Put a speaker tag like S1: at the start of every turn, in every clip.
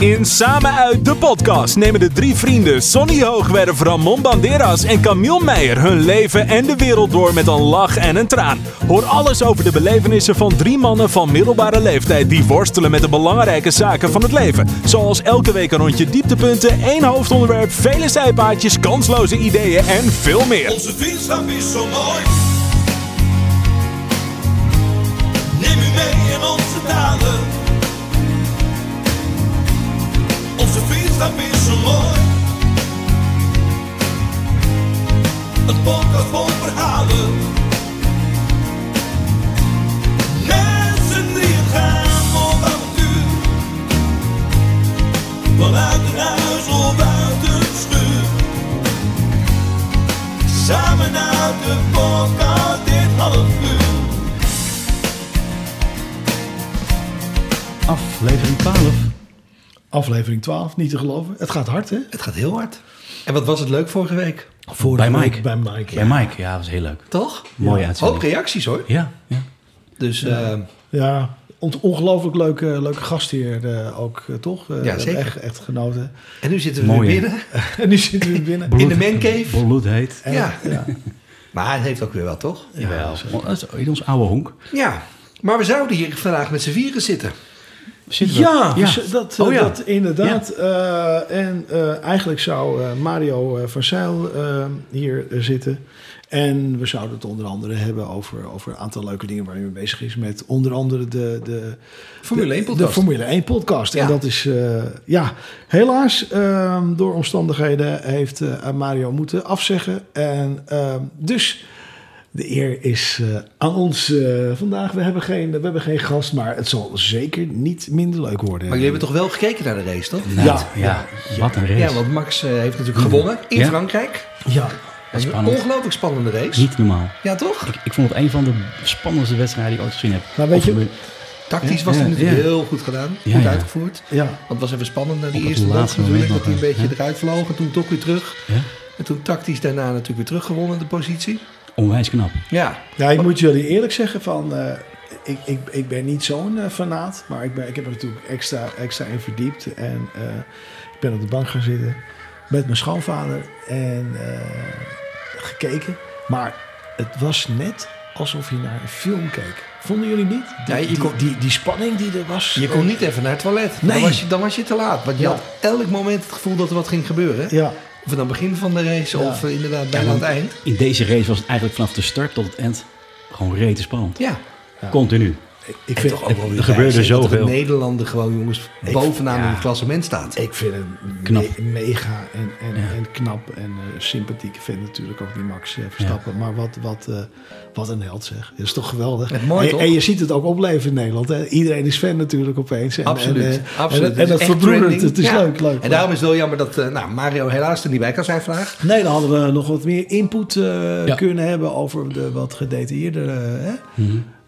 S1: In Samen uit de podcast nemen de drie vrienden Sonny Hoogwerf, Ramon Banderas en Camille Meijer hun leven en de wereld door met een lach en een traan. Hoor alles over de belevenissen van drie mannen van middelbare leeftijd die worstelen met de belangrijke zaken van het leven. Zoals elke week een rondje dieptepunten, één hoofdonderwerp, vele zijpaadjes, kansloze ideeën en veel meer.
S2: Onze vriendschap is zo mooi. Neem u mee in onze daden. Onze vriendschap is zo mooi. Een podcast vol verhalen. Mensen die gaan op avontuur. Vanuit een huis of uit een schuur. Samen uit de podcast dit half uur.
S3: Aflevering 12. Aflevering 12, niet te geloven. Het gaat hard, hè?
S4: Het gaat heel hard. En wat was het leuk vorige week?
S3: Vorige
S5: Bij
S3: week
S5: Mike. Oh.
S3: Bij Mike, ja.
S5: Bij Mike, ja, dat was heel leuk.
S4: Toch?
S5: Mooie
S4: Hoop
S5: uitzending.
S4: reacties hoor.
S5: Ja, ja.
S4: Dus eh,
S3: Ja, ont- ongelooflijk leuke, leuke gastheer eh, ook, eh, toch? Eh, we hebben
S4: zeker.
S3: Echt, echt genoten.
S4: en nu zitten we
S5: Mooi,
S4: weer
S5: hè?
S4: binnen.
S3: En nu zitten we binnen.
S4: In de mancave.
S5: Bloed heet.
S3: En-
S4: Ja.
S3: ja.
S4: Maar het heeft ook weer wel, toch?
S5: Jawel. Ons- In ons oude honk.
S4: Ja. Maar we zouden hier vandaag met z'n vieren zitten.
S5: Zitten we-
S3: Ja, dus dat,
S5: Oh, ja.
S3: dat inderdaad. Eh, en eh, eigenlijk zou eh, Mario eh, van Zijl eh, hier eh, zitten. En we zouden het onder andere hebben over, over een aantal leuke dingen waar hij mee bezig is. Met onder andere de, de
S4: Formule
S3: de-
S4: 1 podcast.
S3: De Formule 1 podcast.
S4: Ja.
S3: En dat is, eh, ja, helaas ehm, door omstandigheden heeft eh, Mario moeten afzeggen. En ehm, dus... De eer is eh, aan ons eh, vandaag. We hebben, geen, we hebben geen gast, maar het zal zeker niet minder leuk worden.
S4: Maar jullie hebben toch wel gekeken naar de race, toch?
S5: Nou,
S3: Ja.
S5: ja. Wat een race. Mm.
S4: Ja, want Max eh, heeft natuurlijk gewonnen in
S5: Ja.
S4: Frankrijk.
S3: Ja,
S4: Dat is een
S5: Spannend.
S4: ongelooflijk spannende race.
S5: Niet normaal.
S4: Ja, toch?
S5: Ik, ik vond het een van de spannendste wedstrijden die ik ooit gezien heb.
S3: Maar weet
S5: Of
S3: je-
S5: we-
S4: Tactisch
S5: Ja,
S4: was het
S5: ja,
S4: natuurlijk
S5: ja.
S4: heel goed gedaan.
S5: Ja,
S4: goed
S5: ja.
S4: uitgevoerd.
S3: ja.
S4: Want het was even spannend. Die
S5: het
S4: eerste bocht
S5: laatste
S4: natuurlijk.
S5: moment
S4: Dat hij een
S5: nog,
S4: beetje
S5: ja.
S4: eruit vloog. En toen toch weer terug.
S5: ja,
S4: En toen tactisch daarna natuurlijk weer teruggewonnen de positie.
S5: onwijs knap.
S4: Ja.
S3: ja, ik moet jullie eerlijk zeggen van... eh, ik, ik, ik ben niet zo'n eh, fanaat, maar ik, ben, ik heb er natuurlijk extra, extra in verdiept. En eh, ik ben op de bank gaan zitten met mijn schoonvader en eh, gekeken. Maar het was net alsof je naar een film keek. Vonden jullie niet? Die,
S4: Ja, je
S3: die,
S4: kon-
S3: die, die spanning die er was.
S4: Je kon niet even naar het toilet.
S3: Nee.
S4: Dan, was je, dan was je te laat. Want je
S3: Ja.
S4: had elk moment het gevoel dat er wat ging gebeuren.
S3: eh, Ja,
S4: Of het aan het begin van de race
S3: Ja.
S4: of eh, inderdaad bijna aan het eind.
S5: In deze race was het eigenlijk vanaf de start tot het eind gewoon rete spannend.
S4: Ja.
S5: Continu.
S3: ik
S4: En
S3: vind,
S4: toch ook wel weer
S5: er gebeurde
S4: bijzonder dat er
S5: zoveel.
S4: een Nederlander gewoon jongens
S3: Ik-
S4: bovenaan
S5: ja.
S4: in het klassement staat.
S3: Ik vind hem
S5: Knap.
S3: me- mega en, en,
S5: Ja.
S3: en knap en eh, sympathiek. Ik vind natuurlijk ook die Max eh, Verstappen. Maar wat, wat, eh, wat een held zeg. Dat is toch geweldig.
S4: Het mooi,
S3: en,
S4: toch?
S3: en je ziet het ook opleven in Nederland. Hè? Iedereen is fan natuurlijk opeens. En,
S4: absoluut.
S3: En, eh,
S4: absoluut.
S3: en, en dat
S4: is echt
S3: verbroedert.
S4: trending.
S3: Het is
S4: Ja.
S3: leuk, leuk.
S4: En daarom is het wel jammer dat eh, nou, Mario helaas er niet bij kan zijn vandaag.
S3: Nee, dan hadden we nog wat meer input eh,
S5: Ja.
S3: kunnen hebben over de wat gedetailleerdere... hè?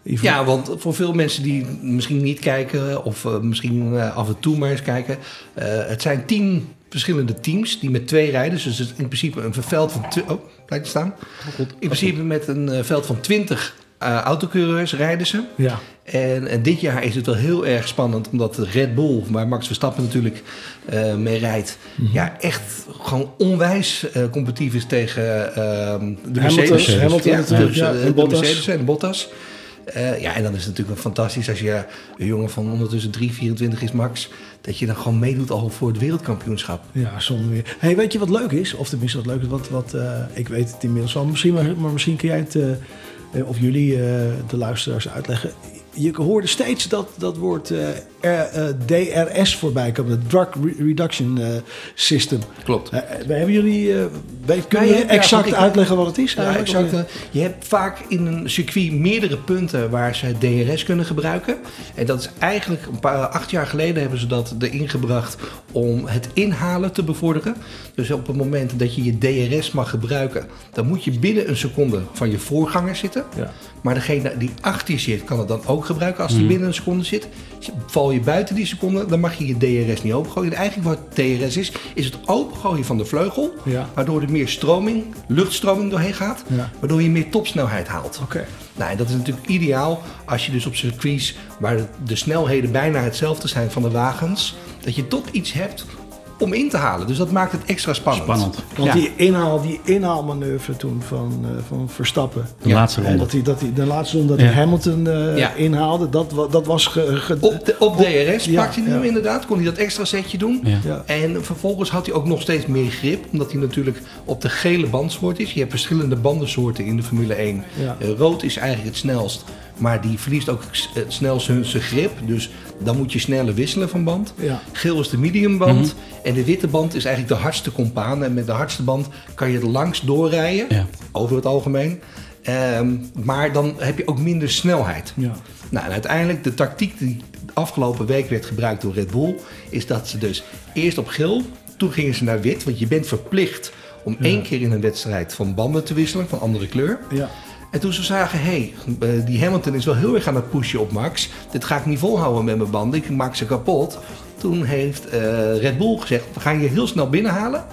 S3: Ivo-
S4: Ja, want voor veel mensen die misschien niet kijken of eh, misschien eh, af en toe maar eens kijken. eh, het zijn tien verschillende teams die met twee rijders. Dus het is in principe een veld van... twi- Oh, blijf te staan. In principe met een eh, veld van twintig eh, autocoureurs rijden ze.
S3: ja.
S4: En, en dit jaar is het wel heel erg spannend, omdat de Red Bull, waar Max Verstappen natuurlijk eh, mee rijdt,
S3: Mhm.
S4: ja, echt gewoon onwijs eh, competitief is tegen ehm, de Mercedes.
S3: Hamilton, Hamilton
S4: ja,
S3: natuurlijk,
S4: dus, eh,
S3: ja, en
S4: de
S3: Bottas.
S4: Mercedes en Bottas. Eh, ja, en dan is het natuurlijk wel fantastisch als je een jongen van ondertussen 3, 24 is, Max, dat je dan gewoon meedoet al voor het wereldkampioenschap.
S3: Ja, zonder meer. Hey, weet je wat leuk is? Of tenminste wat leuk is, wat, wat, eh, ik weet het inmiddels wel. Misschien, maar, maar misschien kun jij het, eh, eh, of jullie, eh, de luisteraars, uitleggen. Je hoorde steeds dat, dat woord eh, R- eh, DRS voorbij komen. Het Drug Re- Reduction eh, System.
S4: Klopt.
S3: Eh, eh, hebben jullie, eh, weet, kunnen
S4: je
S3: jullie
S4: hebt- ja,
S3: exact
S4: goed, ik-
S3: uitleggen wat het is?
S4: Ja,
S3: eigenlijk?
S4: exact. eh, Je hebt vaak in een circuit meerdere punten waar ze DRS kunnen gebruiken. En dat is eigenlijk een paar, eh, acht jaar geleden hebben ze dat erin gebracht om het inhalen te bevorderen. Dus op het moment dat je je DRS mag gebruiken, dan moet je binnen een seconde van je voorganger zitten.
S3: Ja. Mhm.
S4: Maar degene die achter je zit, kan het dan ook gebruiken als die binnen een seconde zit. Val je je buiten die seconde, dan mag je je DRS niet opengooien. En eigenlijk wat DRS is, is het opengooien van de vleugel.
S3: Ja.
S4: Waardoor er meer stroming, luchtstroming doorheen gaat.
S3: Ja.
S4: Waardoor je meer topsnelheid haalt.
S3: Oké.
S4: Nou, en dat is natuurlijk ideaal als je dus op circuits waar de snelheden bijna hetzelfde zijn van de wagens, dat je toch iets hebt om in te halen. Dus dat maakt het extra spannend.
S5: Spannend.
S3: Want
S4: Ja.
S3: die, inhaal, die inhaalmanoeuvre toen van, eh, van Verstappen.
S5: De laatste
S3: En
S5: ronde.
S3: dat hij, dat hij, de laatste ronde dat
S5: Ja.
S3: hij Hamilton eh,
S4: Ja. Oh.
S3: inhaalde, dat, wa- dat was... Ge, ge-
S4: Op, de, op DRS
S3: ja,
S4: pakte hij hem
S3: ja.
S4: inderdaad, kon hij dat extra setje doen.
S5: Ja.
S3: ja.
S4: En vervolgens had hij ook nog steeds meer grip, omdat hij natuurlijk op de gele bandsoort is. Je hebt verschillende bandensoorten in de Formule 1.
S3: Ja.
S4: Eh, rood is eigenlijk het snelst, maar die verliest ook s- het snelst hun zijn grip. Dus dan moet je sneller wisselen van band.
S3: Ja.
S4: Geel is de mediumband
S5: Mhm.
S4: en de witte band is eigenlijk de hardste compaan. En met de hardste band kan je er langs doorrijden,
S5: Ja.
S4: over het algemeen. Ehm, maar dan heb je ook minder snelheid.
S3: Ja.
S4: Nou, en uiteindelijk de tactiek die afgelopen week werd gebruikt door Red Bull, is dat ze dus eerst op geel, toen gingen ze naar wit, want je bent verplicht om één keer in een wedstrijd van banden te wisselen van andere kleur.
S3: Ja.
S4: En toen ze zagen, hé, hey, eh, die Hamilton is wel heel erg aan het pushen op Max. Dit ga ik niet volhouden met mijn banden, ik maak ze kapot. Toen heeft eh, Red Bull gezegd, we gaan je heel snel binnenhalen.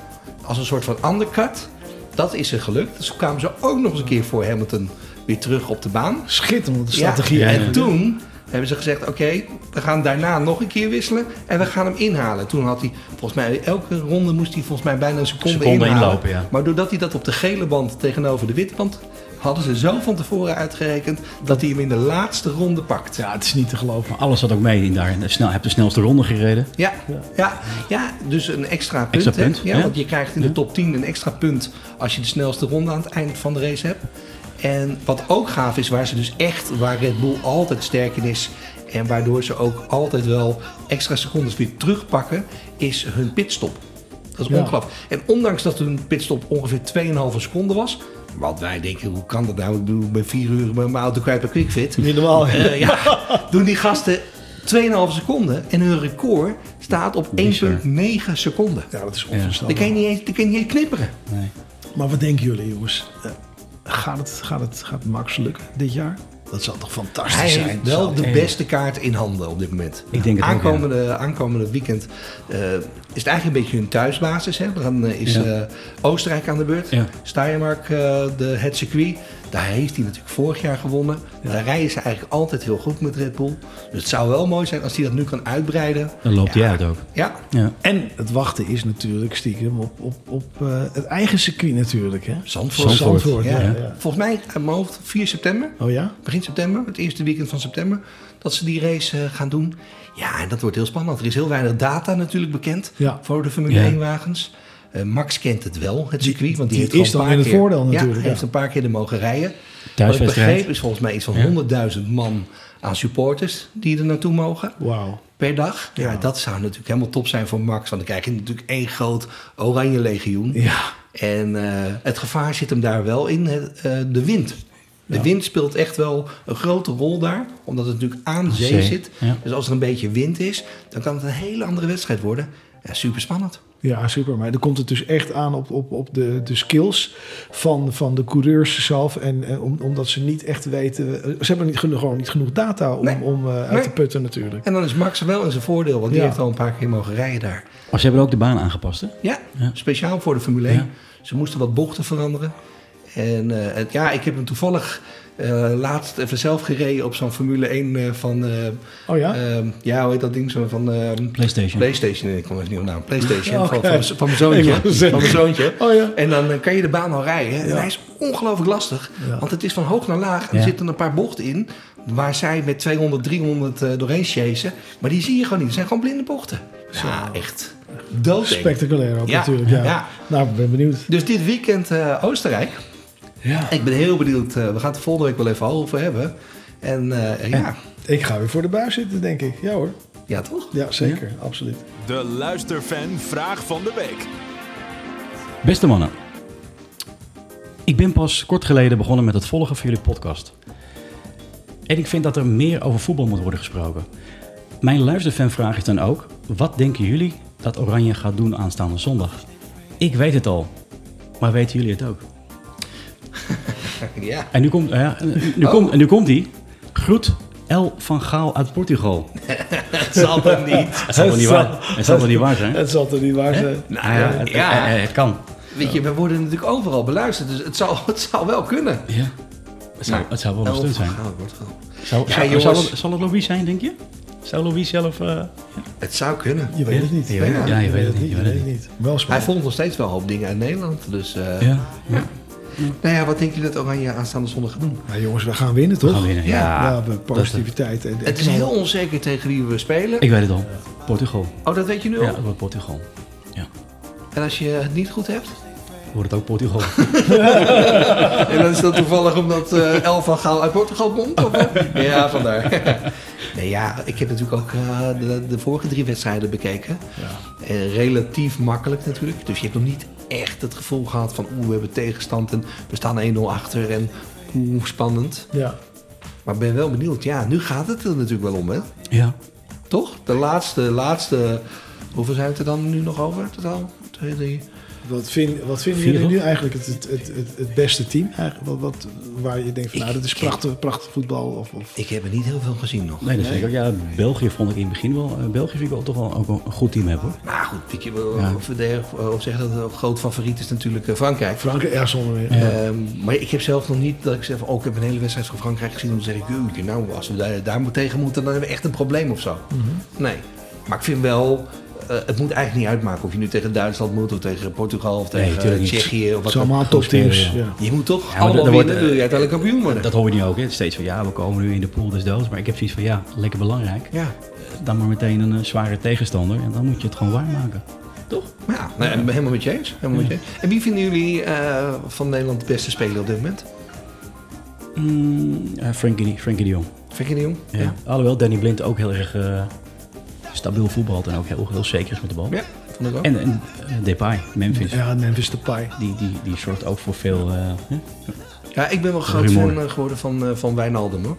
S4: Als een soort van undercut. Dat is er gelukt. Dus kwamen ze ook nog eens een keer voor Hamilton weer terug op de baan.
S3: Schitterende
S4: Ja,
S3: strategie.
S5: Ja,
S4: En toen hebben ze gezegd, oké, we gaan daarna nog een keer wisselen en we gaan hem inhalen. Toen had hij, volgens mij, elke ronde moest hij volgens mij bijna een seconde,
S5: Seconde
S4: inhalen.
S5: inlopen, ja.
S4: Maar doordat hij dat op de gele band tegenover de witte band, hadden ze zo van tevoren uitgerekend dat hij hem in de laatste ronde pakt.
S3: Ja, het is niet te geloven.
S5: Maar alles zat ook mee in daar. En Snel, heb de snelste ronde gereden.
S4: Ja, ja, ja, dus een extra punt.
S5: Extra
S4: hè?
S5: punt,
S4: ja,
S5: ja.
S4: Want je krijgt in de top 10 een extra punt als je de snelste ronde aan het eind van de race hebt. En wat ook gaaf is, waar ze dus echt, waar Red Bull altijd sterk in is. En waardoor ze ook altijd wel extra secondes weer terugpakken, is hun pitstop. Dat is
S3: Ja.
S4: ongelooflijk. En ondanks dat hun pitstop ongeveer 2,5 seconden was. Want wij denken, hoe kan dat nou? Ik bedoel, ik ben 4 uur met mijn auto kwijt bij QuickFit.
S3: Niet normaal. hè?
S4: Eh, ja, doen die gasten 2,5 seconden en hun record staat op 1,9 seconden.
S3: Ja, dat is
S4: Dan
S3: onverstandig.
S4: kan je niet eens, dan kan je niet eens knipperen.
S5: Nee.
S3: Maar wat denken jullie, jongens? Eh, gaat, het, gaat, het, gaat Max lukken dit jaar? Dat zal toch fantastisch
S4: Hij
S3: zijn?
S4: heeft
S3: Zal-
S4: wel de beste kaart in handen op dit moment.
S5: Ik denk het ook,
S4: aankomende, aankomende weekend eh, is het eigenlijk een beetje hun thuisbasis. Hè? Dan eh, is
S5: Ja.
S4: eh, Oostenrijk aan de beurt.
S5: Ja.
S4: Steiermark, eh, de, het circuit. Daar heeft hij natuurlijk vorig jaar gewonnen. Daar rijden ze eigenlijk altijd heel goed met Red Bull. Dus het zou wel mooi zijn als hij dat nu kan uitbreiden.
S5: Dan loopt hij uit ook.
S4: Ja,
S5: Ja.
S3: En het wachten is natuurlijk stiekem op, op, op eh, het eigen circuit natuurlijk. Hè?
S4: Zandvoort.
S5: Zandvoort.
S4: Ja.
S3: ja,
S5: ja.
S3: ja.
S4: Volgens mij uit mijn hoofd 4 september,
S3: Oh ja?
S4: begin september, het eerste weekend van september, dat ze die race eh, gaan doen. Ja, en dat wordt heel spannend. Er is heel weinig data natuurlijk bekend
S3: Ja.
S4: voor de Formule
S5: Ja.
S4: 1 wagens. Eh, Max kent het wel, het circuit, want
S3: die
S4: die, heeft gewoon
S3: is dan
S4: een paar
S3: in het
S4: keer-
S3: voordeel
S4: Ja,
S3: natuurlijk,
S4: hij
S3: ja.
S4: heeft een paar keer er mogen rijden. Wat ik
S5: Thuiswedstrijd.
S4: begreep is volgens mij iets van 100.000 man aan supporters die er naartoe mogen
S3: Wauw.
S4: per dag. Ja,
S3: Ja.
S4: dat zou natuurlijk helemaal top zijn voor Max, want dan krijg je natuurlijk één groot oranje legioen.
S3: Ja.
S4: En eh, het gevaar zit hem daar wel in, hè, eh, de wind. De wind speelt echt wel een grote rol daar, omdat het natuurlijk aan zee,
S5: zee,
S4: zit.
S5: ja.
S4: Dus als er een beetje wind is, dan kan het een hele andere wedstrijd worden. Ja, super spannend.
S3: Ja, super. Maar dan komt het dus echt aan op, op, op de, de skills van, van de coureurs zelf. En, eh, om, omdat ze niet echt weten... eh, Ze hebben niet, genoeg- gewoon niet genoeg data om,
S4: Nee.
S3: om eh, uit
S4: Nee.
S3: te putten natuurlijk.
S4: En dan is Max wel in zijn voordeel, want die
S3: Ja.
S4: heeft al een paar keer mogen rijden daar.
S5: Maar ze hebben ook de baan aangepast, hè?
S4: Ja,
S5: Ja.
S4: speciaal voor de Formule 1.
S5: Ja.
S4: Ze moesten wat bochten veranderen. En eh, het- ja, ik heb hem toevallig eh, laatst even zelf gereden op zo'n Formule 1 eh, van... eh,
S3: Oh ja?
S4: ehm, ja, hoe heet dat ding? Zo van... ehm,
S5: PlayStation.
S4: PlayStation, ik kom even niet op de naam. PlayStation
S3: Oké.
S4: van, van, mijn- van mijn zoontje.
S3: Ik wou
S4: Van
S3: zeggen.
S4: mijn zoontje.
S3: Oh ja.
S4: En dan eh, kan je de baan al rijden. En
S3: Ja.
S4: hij is ongelooflijk lastig.
S3: Ja.
S4: Want het is van hoog naar laag. En er
S5: Ja.
S4: zitten een paar bochten in. Waar zij met 200, 300 eh, doorheen chasen. Maar die zie je gewoon niet. Het zijn gewoon blinde bochten. Ja, echt. Doodeng.
S3: Spectaculair ook
S4: Ja,
S3: natuurlijk. Ja.
S4: ja.
S3: Nou, ik ben benieuwd.
S4: Dus dit weekend eh, Oostenrijk.
S3: Ja.
S4: Ik ben heel benieuwd. eh, we gaan het er volgende week wel even over hebben. En eh, ja.
S3: Ik ga weer voor de buis zitten, denk ik. Ja hoor.
S4: ja, toch?
S3: Ja, zeker. Absoluut.
S1: De luisterfan vraag van de week.
S5: Beste mannen, ik ben pas kort geleden begonnen met het volgen van jullie podcast. En ik vind dat er meer over voetbal moet worden gesproken. Mijn luisterfanvraag is dan ook: wat denken jullie dat Oranje gaat doen aanstaande zondag? Ik weet het al, maar weten jullie het ook?
S4: Ja.
S5: En nu komt, eh, nu, komt, en nu komt die. Groet El van Gaal uit Portugal.
S4: Het zal toch niet.
S5: Het zal wel niet waar, het zal wel niet waar zijn.
S3: Het zal toch niet waar zijn?
S5: Nou ja, het,
S4: Ja.
S5: eh, eh, het kan.
S4: Weet je, we worden natuurlijk overal beluisterd, dus het zal, het zal wel kunnen.
S5: Ja. Het zou, het zou wel een
S4: Oh,
S5: stunt zijn.
S4: Gaal wordt Gaal.
S5: Zou,
S4: Ja,
S5: zou-
S4: jongens.
S5: Nou, zal, het, zal het Louis zijn, denk je? Zou Louis zelf... eh,
S4: Het zou kunnen.
S3: Je weet het niet.
S5: Je weet het- ja, je weet het niet, je weet het
S3: niet. Wel
S4: Hij
S3: spannend.
S4: volgt nog steeds wel een hoop dingen uit Nederland. Dus, eh,
S5: ja.
S4: Nou ja, wat denk je dat Oranje aanstaande zondag gaat doen?
S3: Maar jongens, we gaan winnen, toch?
S5: gaan winnen, ja.
S3: ja,
S5: Dat-
S3: positiviteit. en,
S4: Het is heel onzeker tegen wie we spelen.
S5: Ik weet het al. Portugal.
S4: Oh, dat weet je nu al?
S5: Ja, het wordt Portugal. Ja.
S4: En als je het niet goed hebt?
S5: Wordt het ook Portugal.
S4: En dan is dat toevallig omdat eh El van Gaal uit Portugal komt? Of, wat? ja, vandaar. nee, ja, ik heb natuurlijk ook eh, de, de vorige drie wedstrijden bekeken. Eh, relatief makkelijk natuurlijk. Dus je hebt nog niet echt het gevoel gehad van... oeh, we hebben tegenstand en we staan 1-0 achter en oeh, spannend.
S3: Ja.
S4: Maar ik ben wel benieuwd. Ja, nu gaat het er natuurlijk wel om, hè?
S5: ja.
S4: Toch? De laatste, laatste... Hoeveel zijn het er dan nu nog over totaal? Twee, drie...
S3: Wat, vind, wat vinden
S5: Vier,
S3: jullie nu
S5: toch?
S3: eigenlijk het, het, het, het, het beste team? Eigenlijk? Wat, wat, waar je denkt van, nou, dat is prachtig, prachtig voetbal. Of, of,
S4: Ik heb er niet heel veel gezien nog.
S5: Nee, dat zeker. Ja, België vond ik in het begin wel... eh, België vind ik wel toch wel ook wel een goed team hebben, hoor.
S4: Maar Nou goed, weet je, wel, of, we daar- of zeggen dat een groot favoriet is natuurlijk eh, Frankrijk.
S3: Frankrijk, ja, zonder meer.
S4: Ehm, maar ik heb zelf nog niet dat ik zeg, van, oh, ik heb een hele wedstrijd van Frankrijk gezien. Dan zeg ik, jeetje, nou, als we daar, daar moet tegen moeten, dan hebben we echt een probleem of zo.
S5: Mhm.
S4: Nee. Maar ik vind wel, eh, het moet eigenlijk niet uitmaken of je nu tegen Duitsland moet, of tegen Portugal, of
S5: Nee,
S4: tegen
S5: tuurlijk niet.
S4: Tsjechië. Of
S3: Het
S4: wat
S3: zijn
S4: dan.
S3: allemaal topteams.
S5: spelen,
S3: Ja.
S4: Je moet toch
S5: maar
S4: allemaal
S5: dat- dat
S4: winnen,
S5: wordt, eh,
S4: wil je uiteindelijk kampioen worden.
S5: Dat hoor je nu ook, hè. Steeds van, ja, we komen nu in de pool des doods. Maar ik heb zoiets van, ja, lekker belangrijk.
S4: ja.
S5: Dan maar meteen een eh, zware tegenstander. En dan moet je het gewoon waarmaken. Toch?
S4: Ja, nou, en helemaal met je eens. Helemaal met je eens. En wie vinden jullie eh, van Nederland de beste speler op dit moment?
S5: Mm, eh, Frankie, Frankie de Jong.
S4: Frenkie de Jong?
S5: Ja. Alhoewel Danny Blind ook heel erg eh, stabiel voetbalt en ook heel, heel zeker is met de bal.
S4: Ja, vond ik ook.
S5: En, en eh, Depay, Memphis,
S3: ja, Memphis Depay.
S5: die, die, die zorgt ook voor veel... eh, hè?
S4: Ja, ik ben wel groot
S5: Rumoer.
S4: fan eh, geworden van, eh, van Wijnaldum hoor.